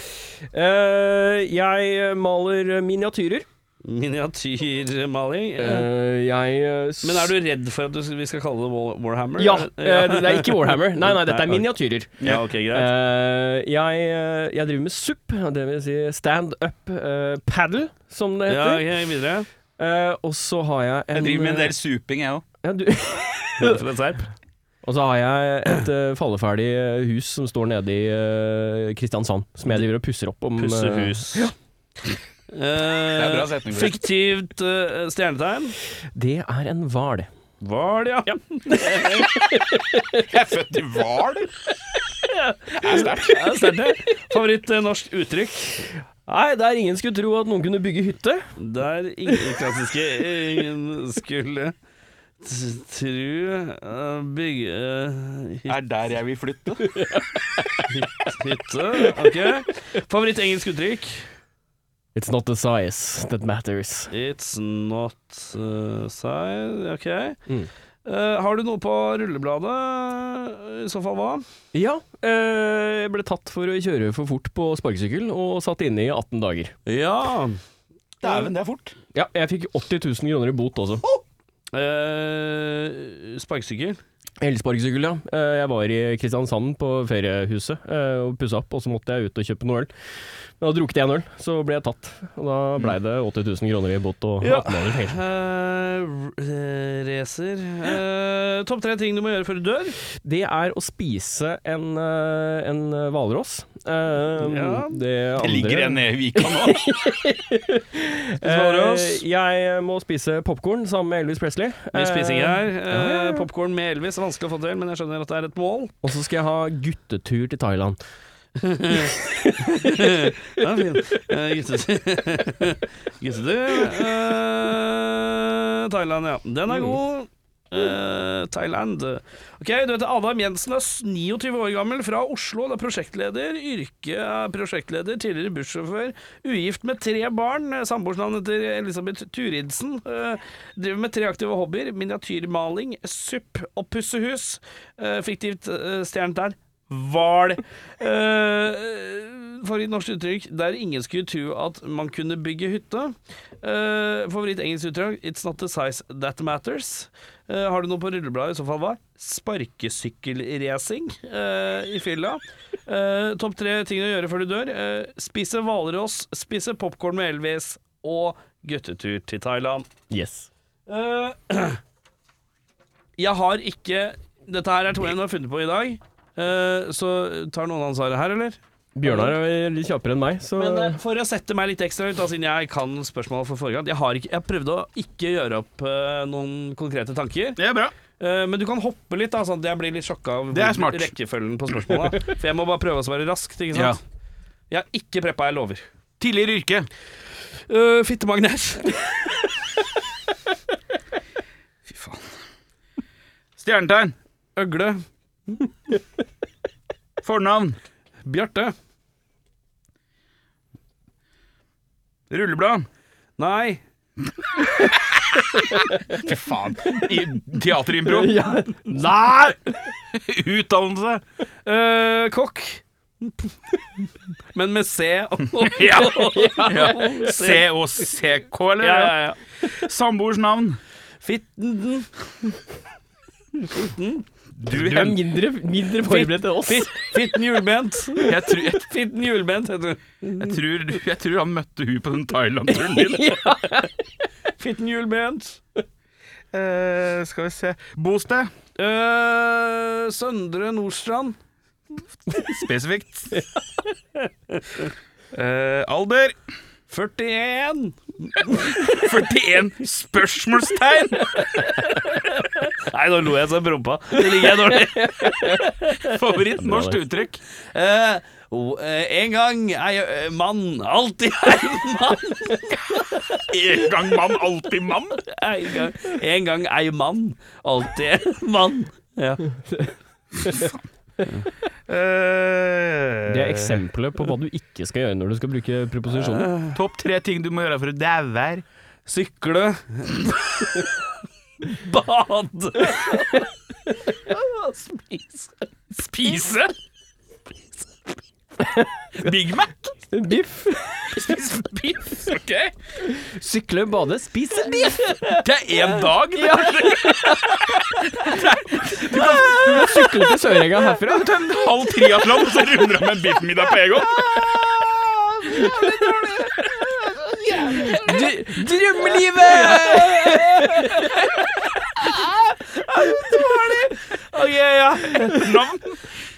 Speaker 2: Eh, jeg maler miniatyrer.
Speaker 1: Miniatyrmaling. eh.
Speaker 2: Eh, jeg eh, s-
Speaker 1: Men er du redd for at du, vi skal kalle det Wall- Warhammer?
Speaker 2: Ja, eh, det det er ikke Warhammer. Nei, nei, dette er
Speaker 1: Nei,
Speaker 2: miniatyrer.
Speaker 1: Ja, ok, greit.
Speaker 2: Eh, jeg, eh, jeg driver med SUP, det vil si stand up eh, paddle, som det
Speaker 1: Ja,
Speaker 2: heter.
Speaker 1: ok, videre.
Speaker 2: Eh, og så har jeg en eh,
Speaker 3: Jeg driver med en del suping, jeg òg.
Speaker 2: ja, du,
Speaker 1: For en serp.
Speaker 2: Og så har jeg et eh, falleferdig eh, hus som står nede i eh, Kristiansand, som jeg driver og pusser opp om eh,
Speaker 1: Pussehus.
Speaker 3: Det er en
Speaker 1: Eh,
Speaker 3: bra setning. Bror.
Speaker 1: fiktivt eh, stjernetegn.
Speaker 2: Det er en hval.
Speaker 1: Var det, ja.
Speaker 3: Jeg er født i Hval!
Speaker 1: ja det er sterkt, det. Favoritt eh, norsk uttrykk.
Speaker 2: Nei, der ingen skulle tro at noen kunne bygge hytte.
Speaker 1: Der ingen klassiske ingen skulle t- tru eh, bygge eh, hyt-
Speaker 3: Er der jeg vil flytte.
Speaker 1: hytte. Ok. Favoritt engelsk uttrykk?
Speaker 2: It's not the size that matters.
Speaker 1: It's not uh, size Ok.
Speaker 2: Mm.
Speaker 1: Eh, har du noe på rullebladet? I så fall hva?
Speaker 2: Ja, eh, jeg ble tatt for å kjøre for fort på sparkesykkel og satt inne i 18 dager.
Speaker 1: Ja.
Speaker 3: Dæven, det er fort.
Speaker 2: Ja, jeg fikk 80 000 kroner i bot også.
Speaker 1: Uh, Sparkesykkel.
Speaker 2: Elsparkesykkel, ja. Eh, Jeg var i Kristiansand på feriehuset eh, og pussa opp, og så måtte jeg ut og kjøpe noe øl. Men da drukket jeg en øl, så ble jeg tatt. Og da blei det 80 000 kroner i bot og
Speaker 1: Ja.
Speaker 2: 18 måneder i fengsel.
Speaker 1: Eh, r- eh, racer. Eh, Topp tre ting du må gjøre før du dør.
Speaker 2: Det er å spise en, eh, en hvalross. Eh,
Speaker 1: Ja.
Speaker 2: Det
Speaker 3: Det
Speaker 2: andre
Speaker 3: ligger en nede i Vika nå.
Speaker 2: Eh,
Speaker 1: hvalross.
Speaker 2: Jeg må spise popkorn sammen med Elvis Presley.
Speaker 1: Mye spising
Speaker 2: Eh,
Speaker 1: her.
Speaker 2: ja, ja,
Speaker 1: Uh,
Speaker 2: ja.
Speaker 1: Popkorn med Elvis er vanskelig å få til, men jeg skjønner at det er et mål.
Speaker 2: Og så skal jeg ha guttetur til Thailand.
Speaker 1: Den er fin. Eh, Guttetur. Guttetur. Eh, Thailand, ja. Den er god. Eh, Thailand. Ok, Du heter Adam Jensen, er 29 år gammel, fra Oslo. Du er prosjektleder. Yrke er prosjektleder, tidligere bussjåfør. Ugift med tre barn. Eh, Samboers navn heter Elisabeth Turidsen. Eh, driver med tre aktive hobbyer. Miniatyrmaling, SUP og pussehus. Eh, fiktivt uh, stjernetegn hval. Eh, favoritt norsk uttrykk der ingen skulle tro at man kunne bygge hytte. Eh, favoritt engelsk uttrykk It's not the size that matters. Eh, har du noe på rullebladet? I så fall hva? Sparkesykkelracing eh, i fylla. Eh, topp tre ting å gjøre før du dør. Eh, spise hvalross, spise popkorn med Elvis og guttetur til Thailand.
Speaker 2: Yes.
Speaker 1: Eh, jeg har ikke Dette her er Tor Einar har funnet på i dag. Eh, så tar noen ansvaret her, eller?
Speaker 2: Bjørnar er litt kjappere enn meg, så
Speaker 1: Men eh, for å sette meg litt ekstra ut, da, siden jeg kan spørsmålet for forrige gang Jeg har ikke, jeg prøvde å ikke gjøre opp eh, noen konkrete tanker.
Speaker 3: Det er bra.
Speaker 1: Eh, men du kan hoppe litt, da, sånn at jeg blir litt sjokka av
Speaker 3: Det er
Speaker 1: hvor
Speaker 3: smart.
Speaker 1: rekkefølgen på spørsmåla. For jeg må bare prøve å svare raskt, ikke sant? Jeg har ikke preppa, jeg lover.
Speaker 3: Tidligere yrke.
Speaker 1: Uh, Fittemagnet.
Speaker 3: Fy faen. Stjernetegn.
Speaker 1: Øgle.
Speaker 3: Fornavn.
Speaker 1: Bjarte.
Speaker 3: Rulleblad.
Speaker 1: Nei.
Speaker 3: Fy faen. I teaterimpro.
Speaker 2: ja,
Speaker 3: Nei! Utdannelse.
Speaker 1: Eh, kokk. Men med C.
Speaker 3: Ja. ja. COCK, eller?
Speaker 1: ja, ja, ja.
Speaker 3: Samboers navn.
Speaker 1: Fitten.
Speaker 3: Du,
Speaker 2: du er mindre, mindre forberedt enn oss.
Speaker 1: Fit, fitten julebent.
Speaker 3: Jeg tror, jeg,
Speaker 1: Fitten julebent heter hun.
Speaker 3: jeg, tror, jeg tror han møtte hun på den Thailand-turen din.
Speaker 1: Fitten julebent.
Speaker 3: Eh, skal vi se Bosted.
Speaker 1: Eh, Søndre Nordstrand.
Speaker 3: Spesifikt. Eh, alder
Speaker 1: 41.
Speaker 3: 41 spørsmålstegn!
Speaker 1: Nei, nå lo jeg så prompa. Det ligger jeg dårlig.
Speaker 3: Favoritt norsk uttrykk.
Speaker 1: Eh, o- eh, en gang er jeg eh, mann, alltid er jeg mann.
Speaker 3: En gang mann, alltid mann.
Speaker 1: En gang, en gang er jeg mann, alltid er jeg mann. Ja.
Speaker 3: Eh,
Speaker 2: Det er eksempelet på hva du ikke skal gjøre når du skal bruke proposisjonen.
Speaker 3: Topp tre ting du må gjøre for å daue her.
Speaker 1: Sykle. Bade. Spise.
Speaker 3: Spise. Big Mac.
Speaker 2: Biff.
Speaker 3: Spise biff. Ok.
Speaker 2: Sykle, bade, spise biff.
Speaker 3: Det er én dag. Det.
Speaker 2: Sykle til Sørenga herfra.
Speaker 3: En halv triatlon, så runder han med en biffmiddag på Egon.
Speaker 1: Drømmelivet! Ok, ja.
Speaker 3: Navn?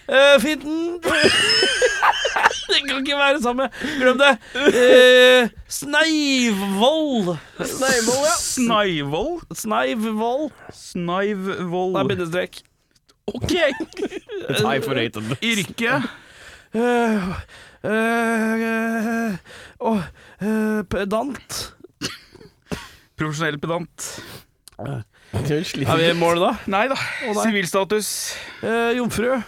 Speaker 1: Eh, fitten Det kan ikke være samme. Glem det. Eh, Sneivoll. Sneivoll,
Speaker 3: Snaivoll.
Speaker 1: Sneivoll. Det er
Speaker 3: Snaivoll.
Speaker 1: bindestrek.
Speaker 3: Ok. Yrke.
Speaker 1: Eh, eh, åh, eh, Pedant.
Speaker 3: Profesjonell pedant.
Speaker 1: Er vi i mål da?
Speaker 3: Nei da. Sivilstatus.
Speaker 1: Eh, Jomfru.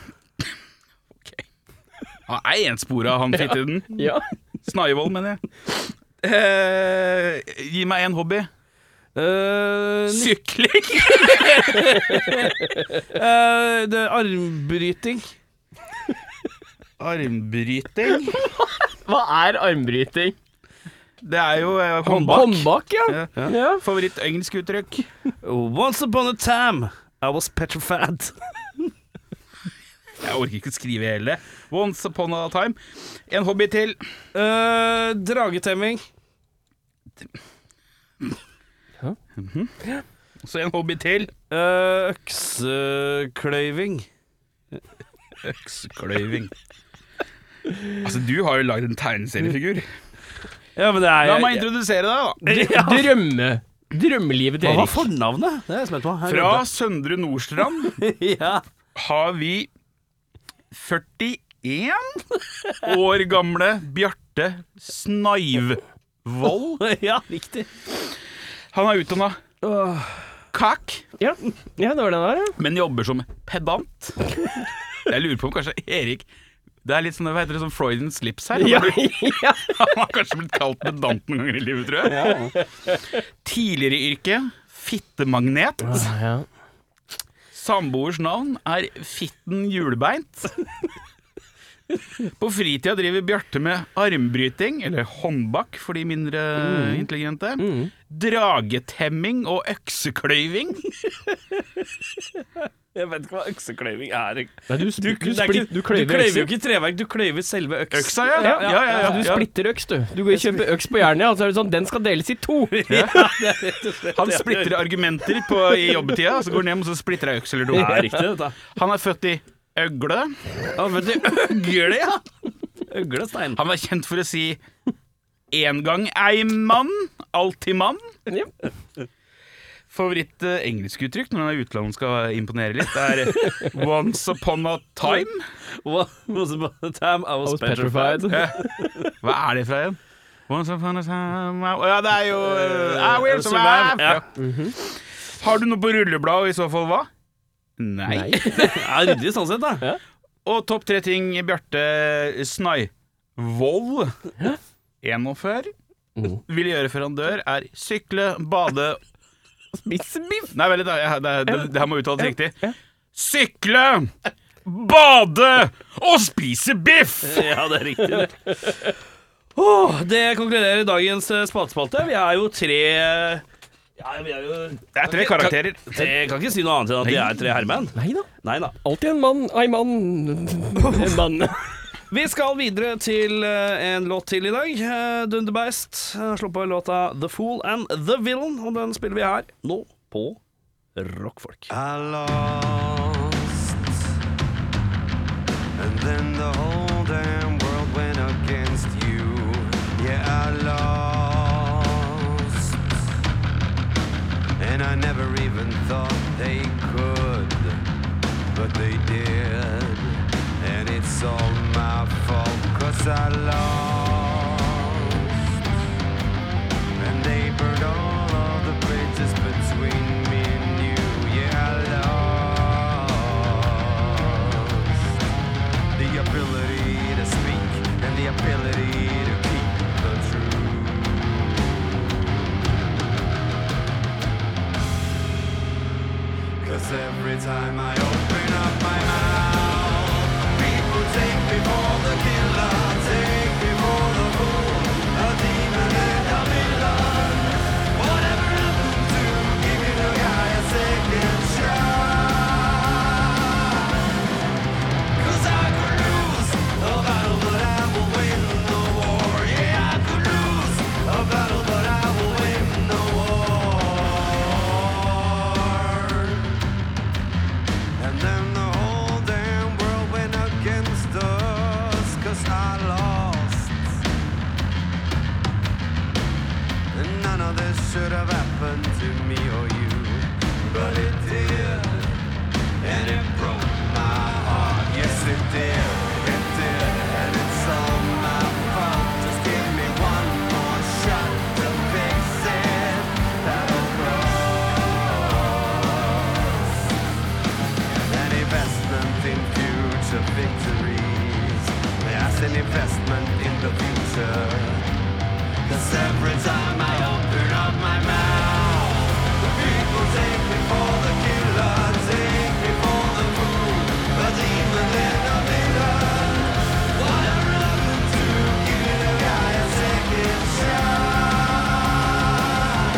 Speaker 3: Han er enspora, han fitteden.
Speaker 2: Ja.
Speaker 3: Snaivoll, mener jeg. Eh, gi meg én hobby.
Speaker 1: Eh, ny-
Speaker 3: Sykling.
Speaker 1: eh, det er armbryting.
Speaker 3: Armbryting.
Speaker 2: Hva er armbryting?
Speaker 3: Det er jo eh, håndbak.
Speaker 2: Håndbak, ja.
Speaker 3: Ja.
Speaker 2: ja.
Speaker 3: Favoritt engelsk uttrykk.
Speaker 1: Once upon a time I was petrified.
Speaker 3: Jeg orker ikke skrive hele. Once upon a time. En hobby til.
Speaker 1: Eh, dragetemming.
Speaker 3: Så en hobby til.
Speaker 1: Eh, øksekløyving.
Speaker 3: Øksekløyving. Altså, du har jo lagd en tegneseriefigur.
Speaker 1: Ja, men det er
Speaker 3: La meg introdusere deg, da.
Speaker 2: Drømme. Drømmelivet til
Speaker 1: Hva var
Speaker 2: Erik.
Speaker 1: fornavnet? Det er jeg spent på. Her
Speaker 3: Fra Søndre Nordstrand
Speaker 1: ja.
Speaker 3: har vi 41 år gamle Bjarte Snaivvoll.
Speaker 1: ja, riktig.
Speaker 3: Han er utdanna kakk,
Speaker 2: Ja. ja, det var den der, ja.
Speaker 3: men jobber som pedant. Jeg lurer på om kanskje Erik Det er litt sånn, hva heter det, sånn Freudian slips her.
Speaker 2: Ja,
Speaker 3: Han
Speaker 2: ja.
Speaker 3: har kanskje blitt kalt pedant noen ganger i livet, tror jeg. Tidligere yrke fittemagnet. Samboers navn er Fitten Hjulbeint. På fritida driver Bjarte med armbryting, eller håndbak for de mindre intelligente. Dragetemming og øksekløyving.
Speaker 1: Jeg vet ikke hva øksekløyving er.
Speaker 2: Nei, du, sp-
Speaker 1: Du,
Speaker 2: du,
Speaker 1: det er
Speaker 2: splitt-
Speaker 1: ikke,
Speaker 2: du
Speaker 1: du
Speaker 2: kløyver
Speaker 1: kløyver jo
Speaker 2: økser.
Speaker 1: ikke treverk, du kløyver selve øksa.
Speaker 3: Øksa, ja. ja, ja, ja,
Speaker 2: Du
Speaker 3: ja,
Speaker 2: splitter øks, du. Du går og kjøper øks på Jernia, og så er det sånn Den skal deles i to!
Speaker 3: Han splitter argumenter på, i jobbetida, så går han hjem og så splitter ei øks eller
Speaker 1: Det er
Speaker 3: to.
Speaker 1: riktig, dette.
Speaker 3: Han er født i øgle.
Speaker 1: Han var født i
Speaker 3: Øgle, ja.
Speaker 1: Øglestein.
Speaker 3: Han var kjent for å si En gang ei mann, alltid mann.
Speaker 2: Ja.
Speaker 3: Favoritt-engelskuttrykk når han er i utlandet og skal imponere litt, er eh, once upon a time.
Speaker 1: What was about the time I was,
Speaker 2: I was
Speaker 1: petrified?
Speaker 2: petrified.
Speaker 3: Hva er det fra igjen? Once upon a time I- Å Ja, det er jo uh, I will
Speaker 1: I'll survive.
Speaker 3: survive. Ja. Har du noe på rullebladet, og i så fall hva? Nei.
Speaker 1: Ja, Ryddig sånn sett, da.
Speaker 3: Og topp tre ting Bjarte Snaivold 41
Speaker 2: Mm.
Speaker 3: vil gjøre før han dør, er sykle, bade
Speaker 2: Bissebiff!
Speaker 3: Nei, vel, det, er- det, er- det, det her må uttales riktig. Sykle, bade og spise biff!
Speaker 1: Ja, det er riktig. Det. Åh, det konkluderer dagens eh, spaltespalte. Vi er jo tre ja, vi er jo
Speaker 3: Det er tre karakterer.
Speaker 1: tre, Kan ikke si noe annet enn at de er tre herremenn.
Speaker 2: Nei da.
Speaker 1: Nei da.
Speaker 2: Alltid en mann. Ei mann. En mann.
Speaker 1: Vi skal videre til eh, en låt til i dag. Eh, Dunderbeist eh, slår på låta The Fool and The Villain, og den spiller vi her nå på Rockfolk.
Speaker 4: I lost, and then the whole damn world went against you. Yeah, I lost, and I never even thought they could, but they did, and it's all my fault, cause I lost. And they burned all of the bridges between me and you. Yeah, I lost the ability to speak and the ability to keep the truth. Cause every time I open up my mouth, people take me for the killer, take me for the fool, a demon and a villain. Whatever happened to giving a guy a second shot? Cause I could lose a battle, but I will win the war. Yeah, I could lose a battle, but I will win the war. And then the whole damn world went against us, cause I lost. And none of this should have happened to me or you, but it did. And it broke my heart, yes it did, it did. And it's all my fault, just give me one more shot to fix it. That'll cross an investment in future victories. That's an investment in the future. Cause every time I open up my mouth, the people take me for the killer, take me for the fool, a demon and a villain. Whatever happened to giving a guy a second shot?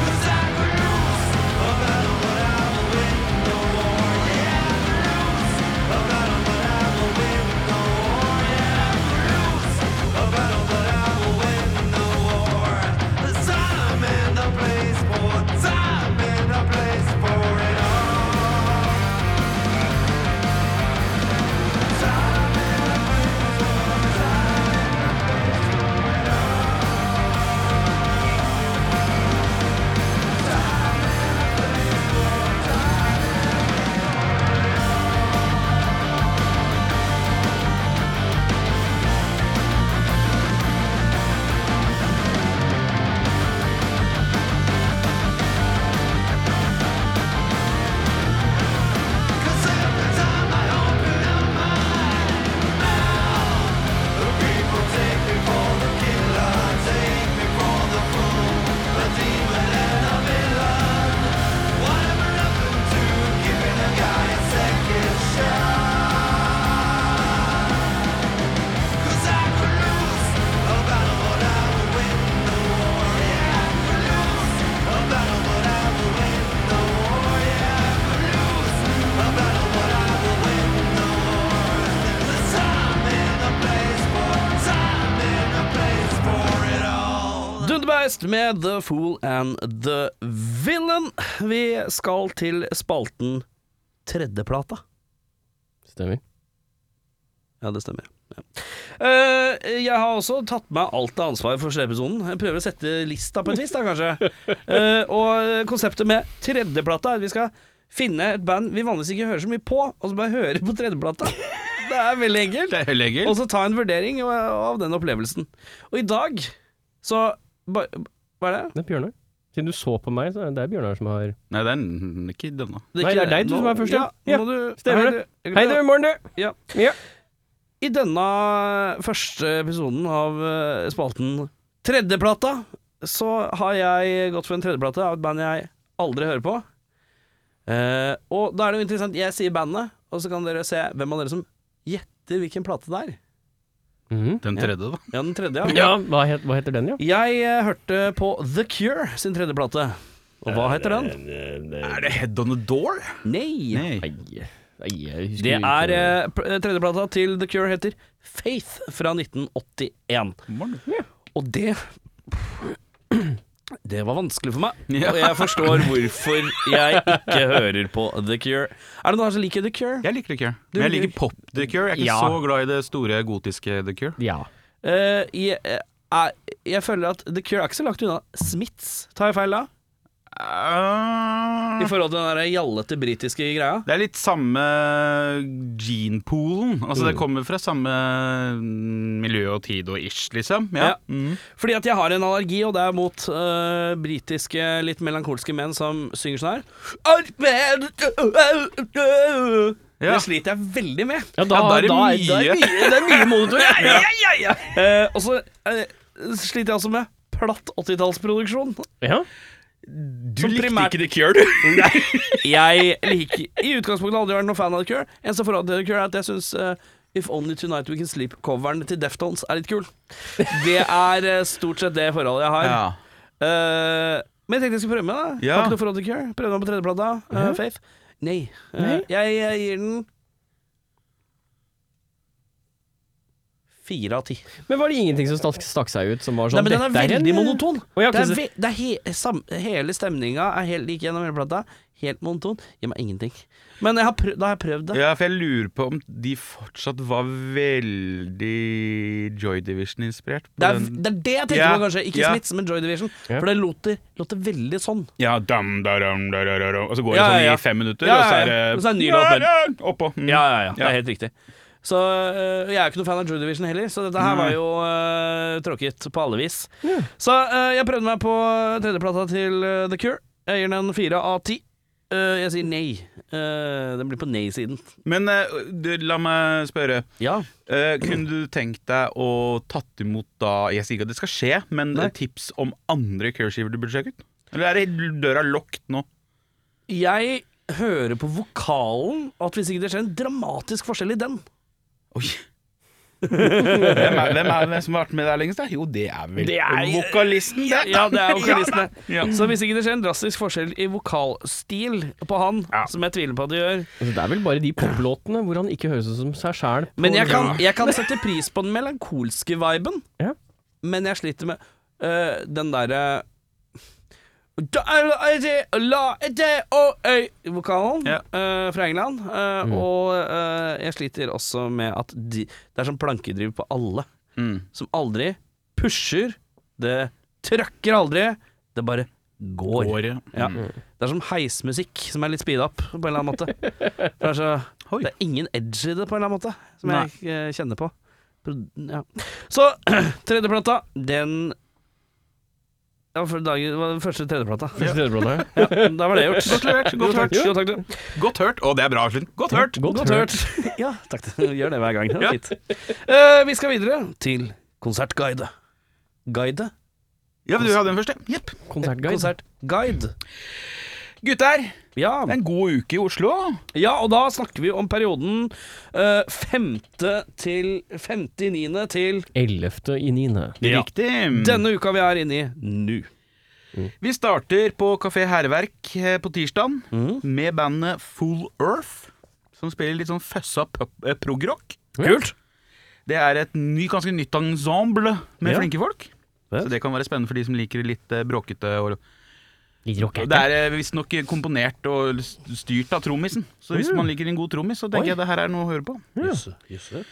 Speaker 4: Cause I could lose a battle, but I will win no war. Yeah, I could lose a battle, but I will win no war. Yeah, I could lose a battle, but I will win no war. The time and the place for time and the place.
Speaker 1: the Beist med The Fool and The Villain. Vi skal til spalten Tredjeplata.
Speaker 2: Stemmer.
Speaker 1: Ja, det stemmer. Ja. Eh, jeg har også tatt meg alt av ansvaret for episoden. Jeg prøver å sette lista på et vis, da, kanskje. Eh, og konseptet med tredjeplata er at vi skal finne et band vi vanligvis ikke hører så mye på, og så bare høre på tredjeplata. Det er veldig enkelt.
Speaker 3: Det er veldig
Speaker 1: Og
Speaker 3: enkelt.
Speaker 1: så ta en vurdering av- av den opplevelsen. Og i dag så ba, Hva er det?
Speaker 2: Det er Bjørnar. Siden du så på meg, så er det- det er Bjørnar som har
Speaker 3: Nei, det er n- ikke denne.
Speaker 2: Nei,
Speaker 1: ikke-
Speaker 2: det er deg du
Speaker 1: nå-
Speaker 2: som er først,
Speaker 1: Ja,
Speaker 2: ja. Ja,
Speaker 1: nå må du,
Speaker 2: stemmer
Speaker 1: Hei, du-
Speaker 2: Hei, du, morgen, du!
Speaker 1: Ja.
Speaker 2: Ja.
Speaker 1: I denne første episoden av eh, spalten Tredjeplata, så har jeg gått for en tredjeplate av et band jeg aldri hører på. Eh, og da er det jo interessant, jeg sier bandet, og så kan dere se hvem av dere som gjetter hvilken plate det er.
Speaker 2: Mhm.
Speaker 3: Den tredje, da.
Speaker 1: Ja, den tredje, ja.
Speaker 2: Ja, hva, het, hva heter den, ja?
Speaker 1: Jeg eh, hørte på The Cure sin tredje plate. Og hva heter den?
Speaker 3: Er det Head on the Door?
Speaker 1: Nei.
Speaker 3: Nei.
Speaker 2: Nei, nei, jeg
Speaker 1: Det
Speaker 2: husker jo ikke-
Speaker 1: er eh, pl- eh, tredjeplata til The Cure heter Faith fra 1981.
Speaker 3: Morn.
Speaker 1: Og det Det var vanskelig for meg.
Speaker 3: Ja.
Speaker 1: Og jeg forstår hvorfor jeg ikke hører på The Cure. Er det noen her som liker The Cure?
Speaker 3: Jeg liker The Cure. Men jeg
Speaker 1: liker-
Speaker 3: liker pop The Cure. Jeg er ikke
Speaker 2: Ja.
Speaker 3: så glad i det store gotiske The Cure.
Speaker 2: Ja.
Speaker 1: Eh, jeg, eh, er- jeg føler at The Cure er ikke så langt unna Smiths, tar jeg feil da? I
Speaker 3: Eh,
Speaker 1: forhold til den der jallete britiske greia?
Speaker 3: Det er litt samme genpoolen. Altså, det kommer fra samme mm, miljø og tid og ish, liksom.
Speaker 1: Ja.
Speaker 3: Ja. Mm.
Speaker 1: Fordi at jeg har en allergi, og det er mot øh, britiske, litt melankolske menn som synger sånn her.
Speaker 3: Ja.
Speaker 1: Det sliter jeg veldig med.
Speaker 2: ja, da,
Speaker 3: Ja, da er det
Speaker 2: da er- da er
Speaker 3: mye.
Speaker 2: mye- det er mye monitor. ja.
Speaker 1: Eh, og så eh, sliter jeg også med platt 80-tallsproduksjon.
Speaker 2: Ja.
Speaker 3: Du
Speaker 1: Som
Speaker 3: likte
Speaker 1: primært-
Speaker 3: ikke The Cure, du?
Speaker 1: Jeg liker i utgangspunktet aldri vært noen fan av The Cure. Eneste forhold til The Cure er at jeg syns If Only Tonight We Can Sleep-coveren til Deftones er litt kul. Det er eh, stort sett det forholdet jeg har.
Speaker 3: Ja.
Speaker 1: Eh, men jeg tenkte jeg skulle prøve meg, da.
Speaker 3: Ja.
Speaker 1: Har ikke noe forhold til Cure. Prøvde meg på tredjeplata. Uh, Faith. Nei. Eh,
Speaker 2: Nei?
Speaker 1: jeg, jeg gir den Fire av ti.
Speaker 2: Men var det ingenting som stakk, stakk seg ut som var sånn
Speaker 1: Nei, men den er
Speaker 2: "Dette en,
Speaker 1: veldig
Speaker 2: eh,
Speaker 1: monoton.
Speaker 2: Å, ja,
Speaker 1: Det er
Speaker 2: ikke
Speaker 1: ve det er he sam hele stemninga er helt lik gjennom hele plata. Helt monoton. Gir meg ingenting. Men jeg har prøv da har jeg prøvd det.
Speaker 3: ja, for jeg lurer på om de fortsatt var veldig Joy Division-inspirert. på
Speaker 1: Det er,
Speaker 3: den-
Speaker 1: det er det jeg tenker
Speaker 3: Ja,
Speaker 1: på, kanskje. Ikke
Speaker 3: ja.
Speaker 1: Smiths, men Joy Division.
Speaker 2: Ja.
Speaker 1: For det låter, låter veldig sånn.
Speaker 3: Ja, dam, da, dam, da, da, da, da. Og så går det
Speaker 1: Ja, ja,
Speaker 3: sånn
Speaker 1: ja.
Speaker 3: i fem minutter,
Speaker 1: Ja,
Speaker 3: og så
Speaker 1: ja,
Speaker 3: er det
Speaker 1: ja. Og så er det en ny låt,
Speaker 3: ja, oppå. Mm.
Speaker 1: Det er helt riktig. Så øh, Jeg er jo ikke noen fan av Joy Division heller, så dette her var jo øh, tråkket på alle vis. Så øh, jeg prøvde meg på tredjeplata til øh, The Cure. Jeg gir den fire av ti. Øh, jeg sier nei. Øh, den blir på nei-siden.
Speaker 3: Men eh, du, la meg spørre.
Speaker 1: Ja.
Speaker 3: Eh, kunne du tenkt deg å tatt imot da Jeg sier ikke at det skal skje, men
Speaker 1: Nei.
Speaker 3: eh, tips om andre curseskiver du burde sjekke ut? Eller er det døra lukket nå?
Speaker 1: Jeg hører på vokalen at hvis ikke det skjer en dramatisk forskjell i den
Speaker 3: Oi. hvem, er, hvem er det som har vært med der lengst? da? Jo, det er vel
Speaker 1: Det er-
Speaker 3: vokalisten, det.
Speaker 1: Ja, det er vokalisten.
Speaker 3: Ja.
Speaker 1: Så hvis ikke det skjer en drastisk forskjell i vokalstil på han,
Speaker 3: Ja.
Speaker 1: som jeg tviler på at det gjør
Speaker 2: Altså, det er vel bare de poplåtene hvor han ikke høres ut som seg sjæl.
Speaker 1: Men jeg kan, jeg kan sette pris på den melankolske viben,
Speaker 2: Ja.
Speaker 1: men jeg sliter med øh, den derre Vokalen
Speaker 3: Ja.
Speaker 1: øh, fra England. øh, Og øh, jeg sliter også med at de, det er sånn plankedriv på alle.
Speaker 3: Mm.
Speaker 1: som aldri pusher, det trøkker aldri, det bare går.
Speaker 3: Året.
Speaker 1: Ja.
Speaker 3: Mm.
Speaker 1: Det er som heismusikk som er litt speed up, på en eller annen måte. For det, er så,
Speaker 3: Oi.
Speaker 1: det er ingen edge i det, på en eller annen måte, som jeg eh, kjenner på. Pro- Ja. Så tredjeplata, den ja, for dagen, det var den første tredjeplata.
Speaker 2: Første tredjeplata, ja.
Speaker 1: Ja, da var det gjort.
Speaker 3: Godt levert. Godt hørt.
Speaker 1: Jo, takk, du.
Speaker 3: Godt hørt. Å, det er bra, Aslund. Godt hørt.
Speaker 2: Godt
Speaker 1: Godt
Speaker 2: hørt.
Speaker 1: hørt. Ja, takk. du. Gjør det hver gang. Det
Speaker 3: Ja.
Speaker 1: var fint. Eh, vi skal videre til konsertguide. Guide?
Speaker 3: Ja, men du hadde den første. Jepp.
Speaker 2: Konsertguide.
Speaker 1: Konsertguide.
Speaker 3: Gutter,
Speaker 1: Ja.
Speaker 3: det er en god uke i Oslo.
Speaker 1: ja, og da snakker vi om perioden eh, 5. til 59. til
Speaker 2: 11. i 9.
Speaker 3: Riktig.
Speaker 1: denne uka vi er inne i nå.
Speaker 3: Vi starter på Kafé Herverk eh, på tirsdag med bandet Full Earth, som spiller litt sånn føssa pop- eh, progrock.
Speaker 2: Kult!
Speaker 3: Det er et ny, ganske nytt ensemble med
Speaker 2: Ja.
Speaker 3: flinke folk.
Speaker 1: Vet.
Speaker 3: Så det kan være spennende for de som liker det litt eh, bråkete. Og
Speaker 2: Litt
Speaker 3: det er eh, visstnok komponert og s- styrt av trommisen. Så
Speaker 2: Mm.
Speaker 3: hvis man liker en god trommis, så tenker jeg det her er noe å høre på.
Speaker 1: Jøsse, jøsse.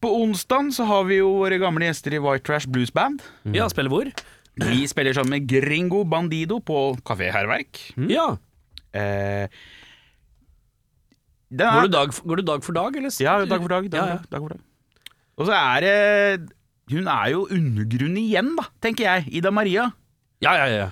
Speaker 3: På onsdag så har vi jo våre gamle gjester i White Trash Blues Band.
Speaker 2: Mm.
Speaker 1: Ja, spiller hvor?
Speaker 3: De spiller sammen med Gringo Bandido på Kafé Herverk.
Speaker 1: Mm. Ja.
Speaker 3: Eh, den er-
Speaker 1: Går du, dag, går du dag for dag, eller? s-
Speaker 3: Ja, dag for dag. dag,
Speaker 1: Ja, ja.
Speaker 3: for dag, dag, for dag. Og så er det Hun er jo undergrunn igjen, da, tenker jeg. Ida Maria.
Speaker 1: Ja, ja, ja.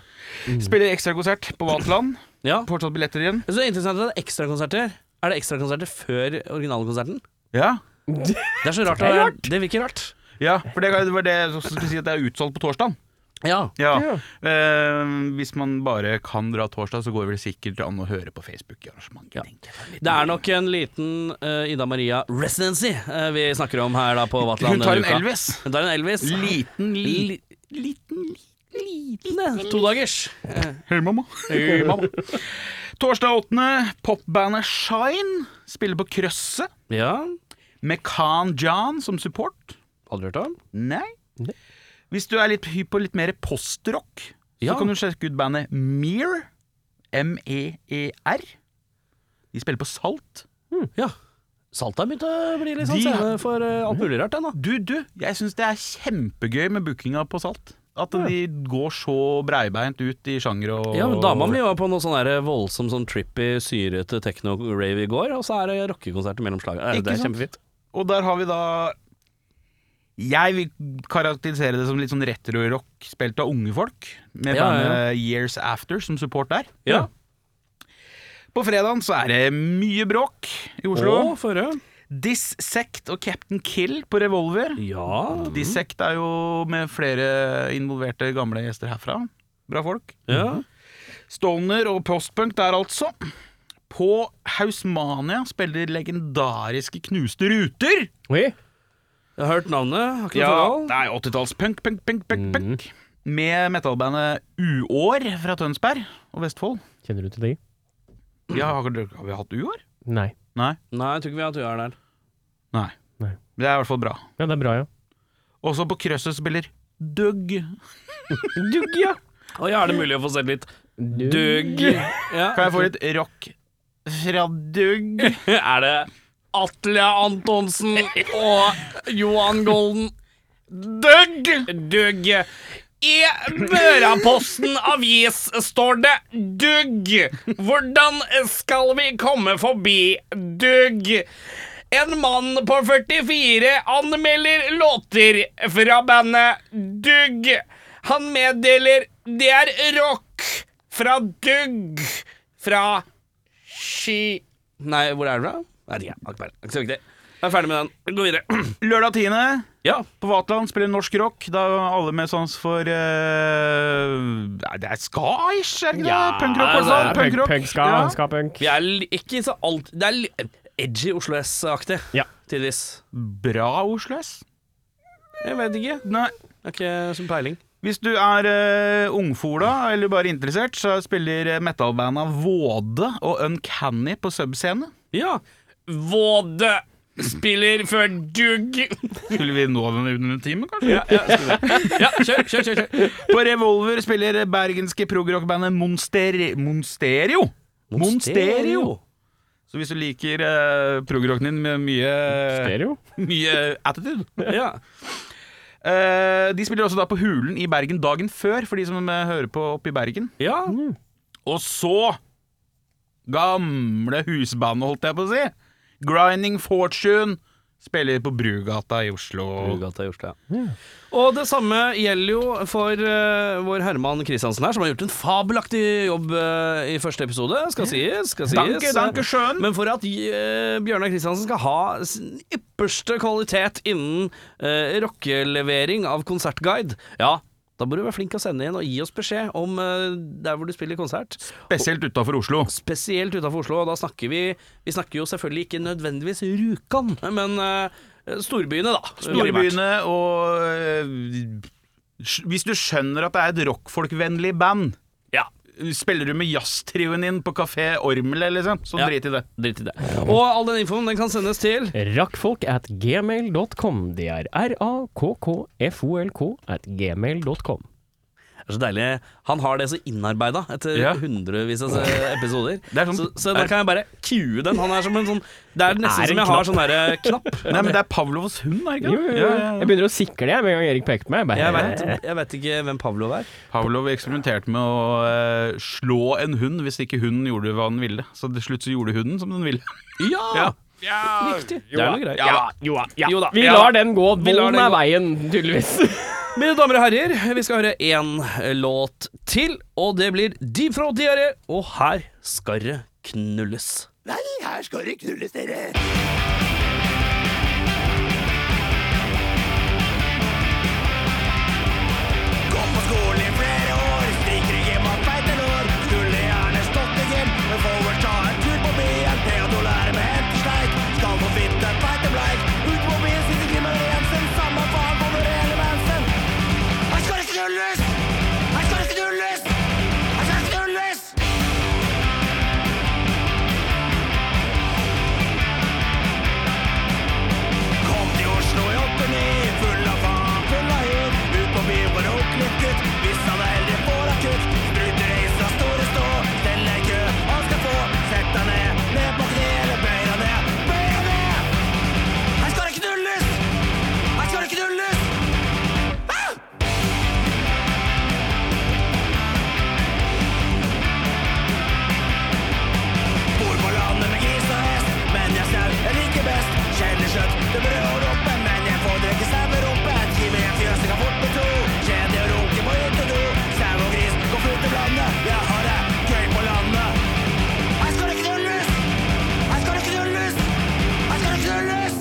Speaker 3: Spiller ekstrakonsert på Vaterland.
Speaker 1: ja.
Speaker 3: Fortsatt billetter igjen.
Speaker 1: Så det er interessant at det er ekstrakonserter. Er det ekstrakonserter før originalkonserten?
Speaker 3: Ja,
Speaker 1: Det er så rart. Det, er rart. det virker rart.
Speaker 3: ja for det det var det jeg skulle si, at det er utsolgt på torsdag.
Speaker 1: Ja.
Speaker 3: Ja. Eh, hvis man bare kan dra torsdag, så går det vel sikkert an å høre på Facebook i arrangementet.
Speaker 1: Ja.
Speaker 3: tenker jeg.
Speaker 1: Det er nok en liten eh, Ida Maria residency eh, vi snakker om her da på Vatland.
Speaker 3: Hun tar en
Speaker 1: denne uka.
Speaker 3: Elvis.
Speaker 1: Hun tar en Elvis.
Speaker 3: Liten, li...
Speaker 1: Li- Liten todagers.
Speaker 3: Hei, mamma. Torsdag 8. Popbandet Shine spiller på Krøsset.
Speaker 1: Ja.
Speaker 3: Med Khan John som support?
Speaker 1: Aldri hørt om?
Speaker 3: Nei.
Speaker 2: Nei.
Speaker 3: Hvis du er litt hypp på litt mer postrock,
Speaker 1: Ja.
Speaker 3: så kan du sjekke ut bandet Mear. M-e-e-r. E De spiller på Salt.
Speaker 1: Ja. Salt har begynt å bli litt sånn
Speaker 3: De-
Speaker 1: scene for eh, alt mulig rart, den da.
Speaker 3: Du, du, jeg syns det er kjempegøy med bookinga på Salt. At de går så breibeint ut i sjanger og
Speaker 1: Ja, men Dama mi var på noe sånn der voldsom sånn trippy, syrete techno-rave i går, og så er det rockekonsert mellom slagene. Eh,
Speaker 3: Ikke
Speaker 1: Det er
Speaker 3: sant?
Speaker 1: kjempefint.
Speaker 3: Og der har vi da Jeg vil karakterisere det som litt sånn retro-rock spilt av unge folk. Med
Speaker 1: Ja, ja,
Speaker 3: bandet
Speaker 1: ja.
Speaker 3: Years After som support der.
Speaker 1: Ja.
Speaker 3: På fredagen så er det mye bråk i Oslo.
Speaker 1: Å, få høre.
Speaker 3: Dissect og Captain Kill på Revolver.
Speaker 1: Ja.
Speaker 3: Dissect er jo med flere involverte gamle gjester herfra. Bra folk.
Speaker 1: ja.
Speaker 3: Stoner og postpunk der, altså. På Hausmania spiller legendariske Knuste Ruter.
Speaker 2: Oi.
Speaker 1: Jeg har hørt navnet, har ikke noe
Speaker 3: Ja,
Speaker 1: forhold.
Speaker 3: det er 80-talls-punk, punk, punk, punk, punk. Med metallbandet Uår fra Tønsberg og Vestfold.
Speaker 2: Kjenner du til de?
Speaker 3: Ja, har, har vi hatt Uår?
Speaker 2: Nei.
Speaker 3: Nei.
Speaker 1: Nei, jeg tror ikke vi har hatt UR der.
Speaker 3: Nei.
Speaker 2: Nei.
Speaker 3: Det er i hvert fall bra.
Speaker 2: Ja, det er bra, ja.
Speaker 3: Også på Krøsset spiller Dugg.
Speaker 2: Dugg, ja.
Speaker 1: Å ja, er det mulig å få sett litt dugg? Ja.
Speaker 3: Kan jeg få litt rock fra Dugg?
Speaker 1: Er det Atle Antonsen og Johan Golden Døgg! Døgg. I Børaposten avis står det dugg. Hvordan skal vi komme forbi dugg? En mann på 44 anmelder låter fra bandet Dugg. Han meddeler det er rock fra Dugg fra Ski Nei, hvor er den fra? Nei, det er ikke peiling. Ikke så viktig. Jeg er ferdig med den. Gå videre.
Speaker 3: Lørdag 10.
Speaker 1: Ja.
Speaker 3: på Vaterland spiller norsk rock. Da alle med sans for eh, Nei, det er ska-ish, er det ikke det?
Speaker 1: Ja,
Speaker 3: Punkrock, altså.
Speaker 1: det er
Speaker 2: Punk,
Speaker 3: Punkrock.
Speaker 2: punk, ska,
Speaker 3: Ja.
Speaker 2: ska punk.
Speaker 1: Vi er li- ikke så alt Det er li- edgy Oslo S-aktig.
Speaker 2: Ja.
Speaker 1: Tidvis.
Speaker 3: Bra Oslo S.
Speaker 1: Jeg vet ikke.
Speaker 3: Nei.
Speaker 1: Det er ikke som peiling.
Speaker 3: Hvis du er eh, ungfola eller bare interessert, så spiller metalbanda Våde og Uncanny på subscene.
Speaker 1: Ja. Våde spiller før dugg.
Speaker 3: Skulle vi nå den under en time, kanskje?
Speaker 1: Ja, ja, skulle det. ja kjør, kjør, kjør. kjør.
Speaker 3: På Revolver spiller bergenske progrockbandet Monsteri Monsterio. Monsterio. Så hvis du liker uh, progrocken din med mye,
Speaker 2: Stereo.
Speaker 3: mye attitude
Speaker 1: Ja.
Speaker 3: Eh, De spiller også da på Hulen i Bergen dagen før, for de som eh, hører på oppe i Bergen.
Speaker 1: ja.
Speaker 3: Og så Gamle husbandet, holdt jeg på å si. Grinding Fortune spiller på Brugata i Oslo.
Speaker 1: Brugata i Oslo, ja. Og det samme gjelder jo for eh, vår Herman Kristiansen her, som har gjort en fabelaktig jobb eh, i første episode, skal sies. Skal sies.
Speaker 3: Danke, danke schön.
Speaker 1: Men for at eh, Bjørnar Kristiansen skal ha sin ypperste kvalitet innen eh, rockelevering av konsertguide, ja, da bør du være flink til å sende inn og gi oss beskjed om eh, der hvor du spiller konsert.
Speaker 3: Spesielt utafor Oslo.
Speaker 1: Spesielt utafor Oslo, og da snakker vi Vi snakker jo selvfølgelig ikke nødvendigvis Rjukan, men eh, storbyene, da. primært.
Speaker 3: Storbyene og eh, øh, Hvis du skjønner at det er et rockfolkvennlig band,
Speaker 1: Ja.
Speaker 3: Spiller du med jazztrioen din på Kafé Ormle, liksom, så
Speaker 1: Ja.
Speaker 3: drit i det.
Speaker 1: Drit i det. Og all den infoen den kan sendes til
Speaker 2: Rakkfolk at gmail.com. Det er r-a-k-k-f-o-l-k at gmail.com.
Speaker 1: Det er så deilig. Han har det så innarbeida etter
Speaker 3: Ja.
Speaker 1: hundrevis av se- episoder.
Speaker 3: Det er sånn-
Speaker 1: så, så da kan jeg bare cue den. Han er som en sånn Det er nesten
Speaker 2: Er en
Speaker 1: som jeg har sånn derre knapp.
Speaker 3: Nei, men det er Pavlovs hund, er det
Speaker 2: Jo,
Speaker 3: ikke
Speaker 2: jo,
Speaker 3: det?
Speaker 2: jo.
Speaker 3: Ja, ja, ja.
Speaker 2: Jeg begynner å sikle jeg, med en gang Erik peker på meg. Bare,
Speaker 1: Jeg vet, jeg vet ikke hvem Pavlov er.
Speaker 3: Pavlov eksperimenterte med å eh, slå en hund hvis ikke hunden gjorde hva den ville. Så til slutt så gjorde hunden som den ville.
Speaker 1: Ja! Riktig. Det er noe greit.
Speaker 2: Ja, jo, da, ja.
Speaker 1: Jo da,
Speaker 2: Vi
Speaker 1: ja.
Speaker 2: lar den gå.
Speaker 1: Vi lar
Speaker 2: Volden
Speaker 1: den
Speaker 2: er
Speaker 1: gå.
Speaker 2: veien, tydeligvis.
Speaker 1: Mine damer og herrer, vi skal høre én låt til, og det blir Deep Throat Diaré. Og her skal det knulles.
Speaker 4: Nei, her skal det knulles, dere! Kom på skolen i flere år, strikker hjem og feiter lår. Skulle gjerne stått i hjem, men får vel ta en tur på BNP og nå lære med hentesleik. Skal få fitte, feite bleik. Ute på byen sitter Grimmer Jensen, samme faen på når det gjelder mensen. Her skal det knulles! Her skal det knulles! Her skal det knulles! Kom til Oslo i opp og ned, full av faen, full av hit. Ut på byen for opplykt gutt, hvis han er heldig får akutt. Spruter reis fra store stå, steller kø, han skal få. Sett deg ned, ned på kne, eller bøy deg ned, bøy deg ned. Her skal det knulles! Her skal det knulles! Ah! Bor på landet med gris og hest, men jeg sau jeg liker best. Kjenner kjøtt til brød og rumpe, men jeg får drikke sau med rumpe. Et kime i fjøset kan fort bli to. Kjedelig å runke på hyttedo. Sau og gris går fort i blandet. Jeg har det gøy på landet. Her skal det knulles! Her skal det knulles! Her skal det knulles!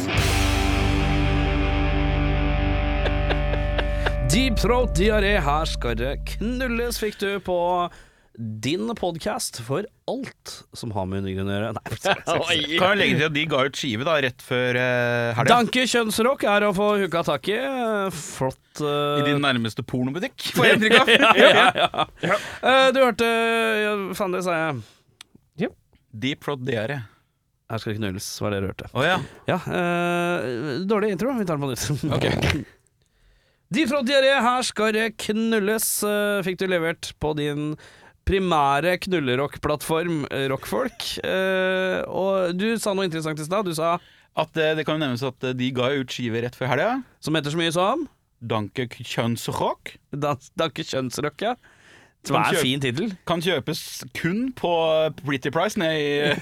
Speaker 1: Deep Throat Diaré, her skal det knulles, fikk du på din podkast for alt som har med undergrunn å gjøre. Nei,
Speaker 3: Kan jo legge til at de ga ut skive da, rett før uh, helga.
Speaker 1: Danke kjønnsrock er å få hooka tak i. Flott. eh,
Speaker 3: I din nærmeste pornobutikk, får jeg inntrykk av.
Speaker 1: ja, ja, ja. Eh, Du hørte ja, Faen, det sa jeg.
Speaker 3: Deep Frod Diary.
Speaker 1: Her skal det knulles, var det du hørte.
Speaker 3: Å ja.
Speaker 1: Ja, eh, dårlig intro. Vi tar den på nytt. De fra diaré, her skal det knulles, eh, fikk du levert på din primære knullerock-plattform, eh, Rockfolk. Eh, og du sa noe interessant i stad, du sa
Speaker 3: At eh, det kan jo nevnes at eh, de ga jo ut skive rett før helga.
Speaker 1: som heter så mye som
Speaker 3: Danke kjønnsrock.
Speaker 1: Dans- Danke kjønnsrock, ja. Som
Speaker 3: Kan
Speaker 1: er en
Speaker 3: kjøpe-
Speaker 1: fin tittel.
Speaker 3: Kan kjøpes kun på Pretty Price nede i eh,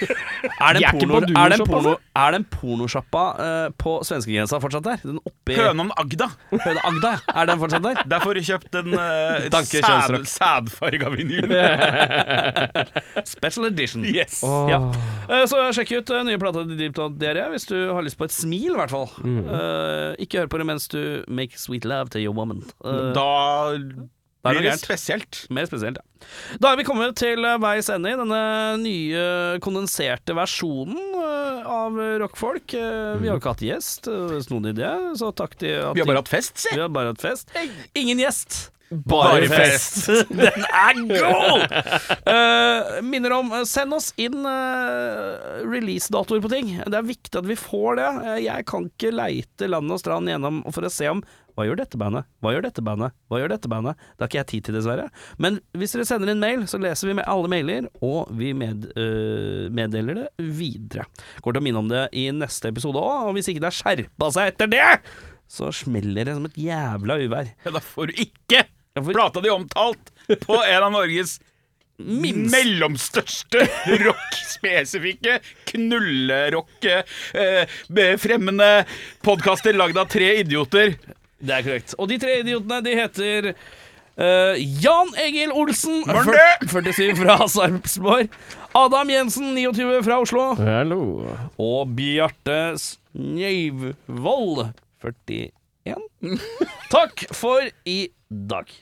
Speaker 1: Er det
Speaker 2: De er
Speaker 1: en
Speaker 2: ikke
Speaker 1: porno-
Speaker 2: på altså.
Speaker 1: er det en
Speaker 2: Duoshop,
Speaker 1: porno- er det en pornosjappa eh, på svenskegrensa fortsatt der? Den oppe i
Speaker 3: Hønan Agda.
Speaker 1: Høne-Agda, ja. er den fortsatt der?
Speaker 3: Der får du kjøpt en eh,
Speaker 1: Danke,
Speaker 3: sæd,
Speaker 1: kjønnsrock.
Speaker 3: sædfarga vinyl.
Speaker 1: Special edition.
Speaker 3: Yes.
Speaker 1: Ja. Eh, Så sjekk ut eh, nye plata til Deep Throat Diaré hvis du har lyst på et smil, i hvert fall. Eh, ikke hør på det mens du make sweet love to your woman. Eh,
Speaker 3: Da
Speaker 1: da
Speaker 3: blir det spesielt.
Speaker 1: Mer spesielt, ja. Da er vi kommet til eh, veis ende i denne nye kondenserte versjonen eh, av Rockfolk. Eh, Vi har jo ikke hatt gjest, eh, snodig idé, så takk til at
Speaker 3: Vi har bare hatt fest, si.
Speaker 1: vi har bare hatt fest. Ingen gjest.
Speaker 3: Bare fest.
Speaker 1: Den er god! Eh, minner om eh, Send oss inn eh, releasedatoer på ting. Det er viktig at vi får det. Eh, jeg kan ikke leite land og strand gjennom for å se om hva gjør dette bandet? Hva gjør dette bandet? Hva gjør dette bandet? Det har ikke jeg tid til, dessverre. Men hvis dere sender inn mail, så leser vi med alle mailer, og vi med, eh, meddeler det videre. Går til å minne om det i neste episode òg, og hvis ikke det har skjerpa seg etter det, så smeller det som et jævla uvær.
Speaker 3: Ja, da får du ikke
Speaker 1: Ja, for-
Speaker 3: plata di omtalt på en av Norges mellomstørste rock-spesifikke, eh, knullerock-fremmende podkaster lagd av tre idioter.
Speaker 1: Det er korrekt. Og de tre idiotene, de heter eh, Jan Egil Olsen,
Speaker 3: Mørne!
Speaker 1: 47 fra Sarpsborg. Adam Jensen, 29 fra Oslo.
Speaker 2: Hallo.
Speaker 1: Og Bjarte Snøyvold, 41. Takk for i dag.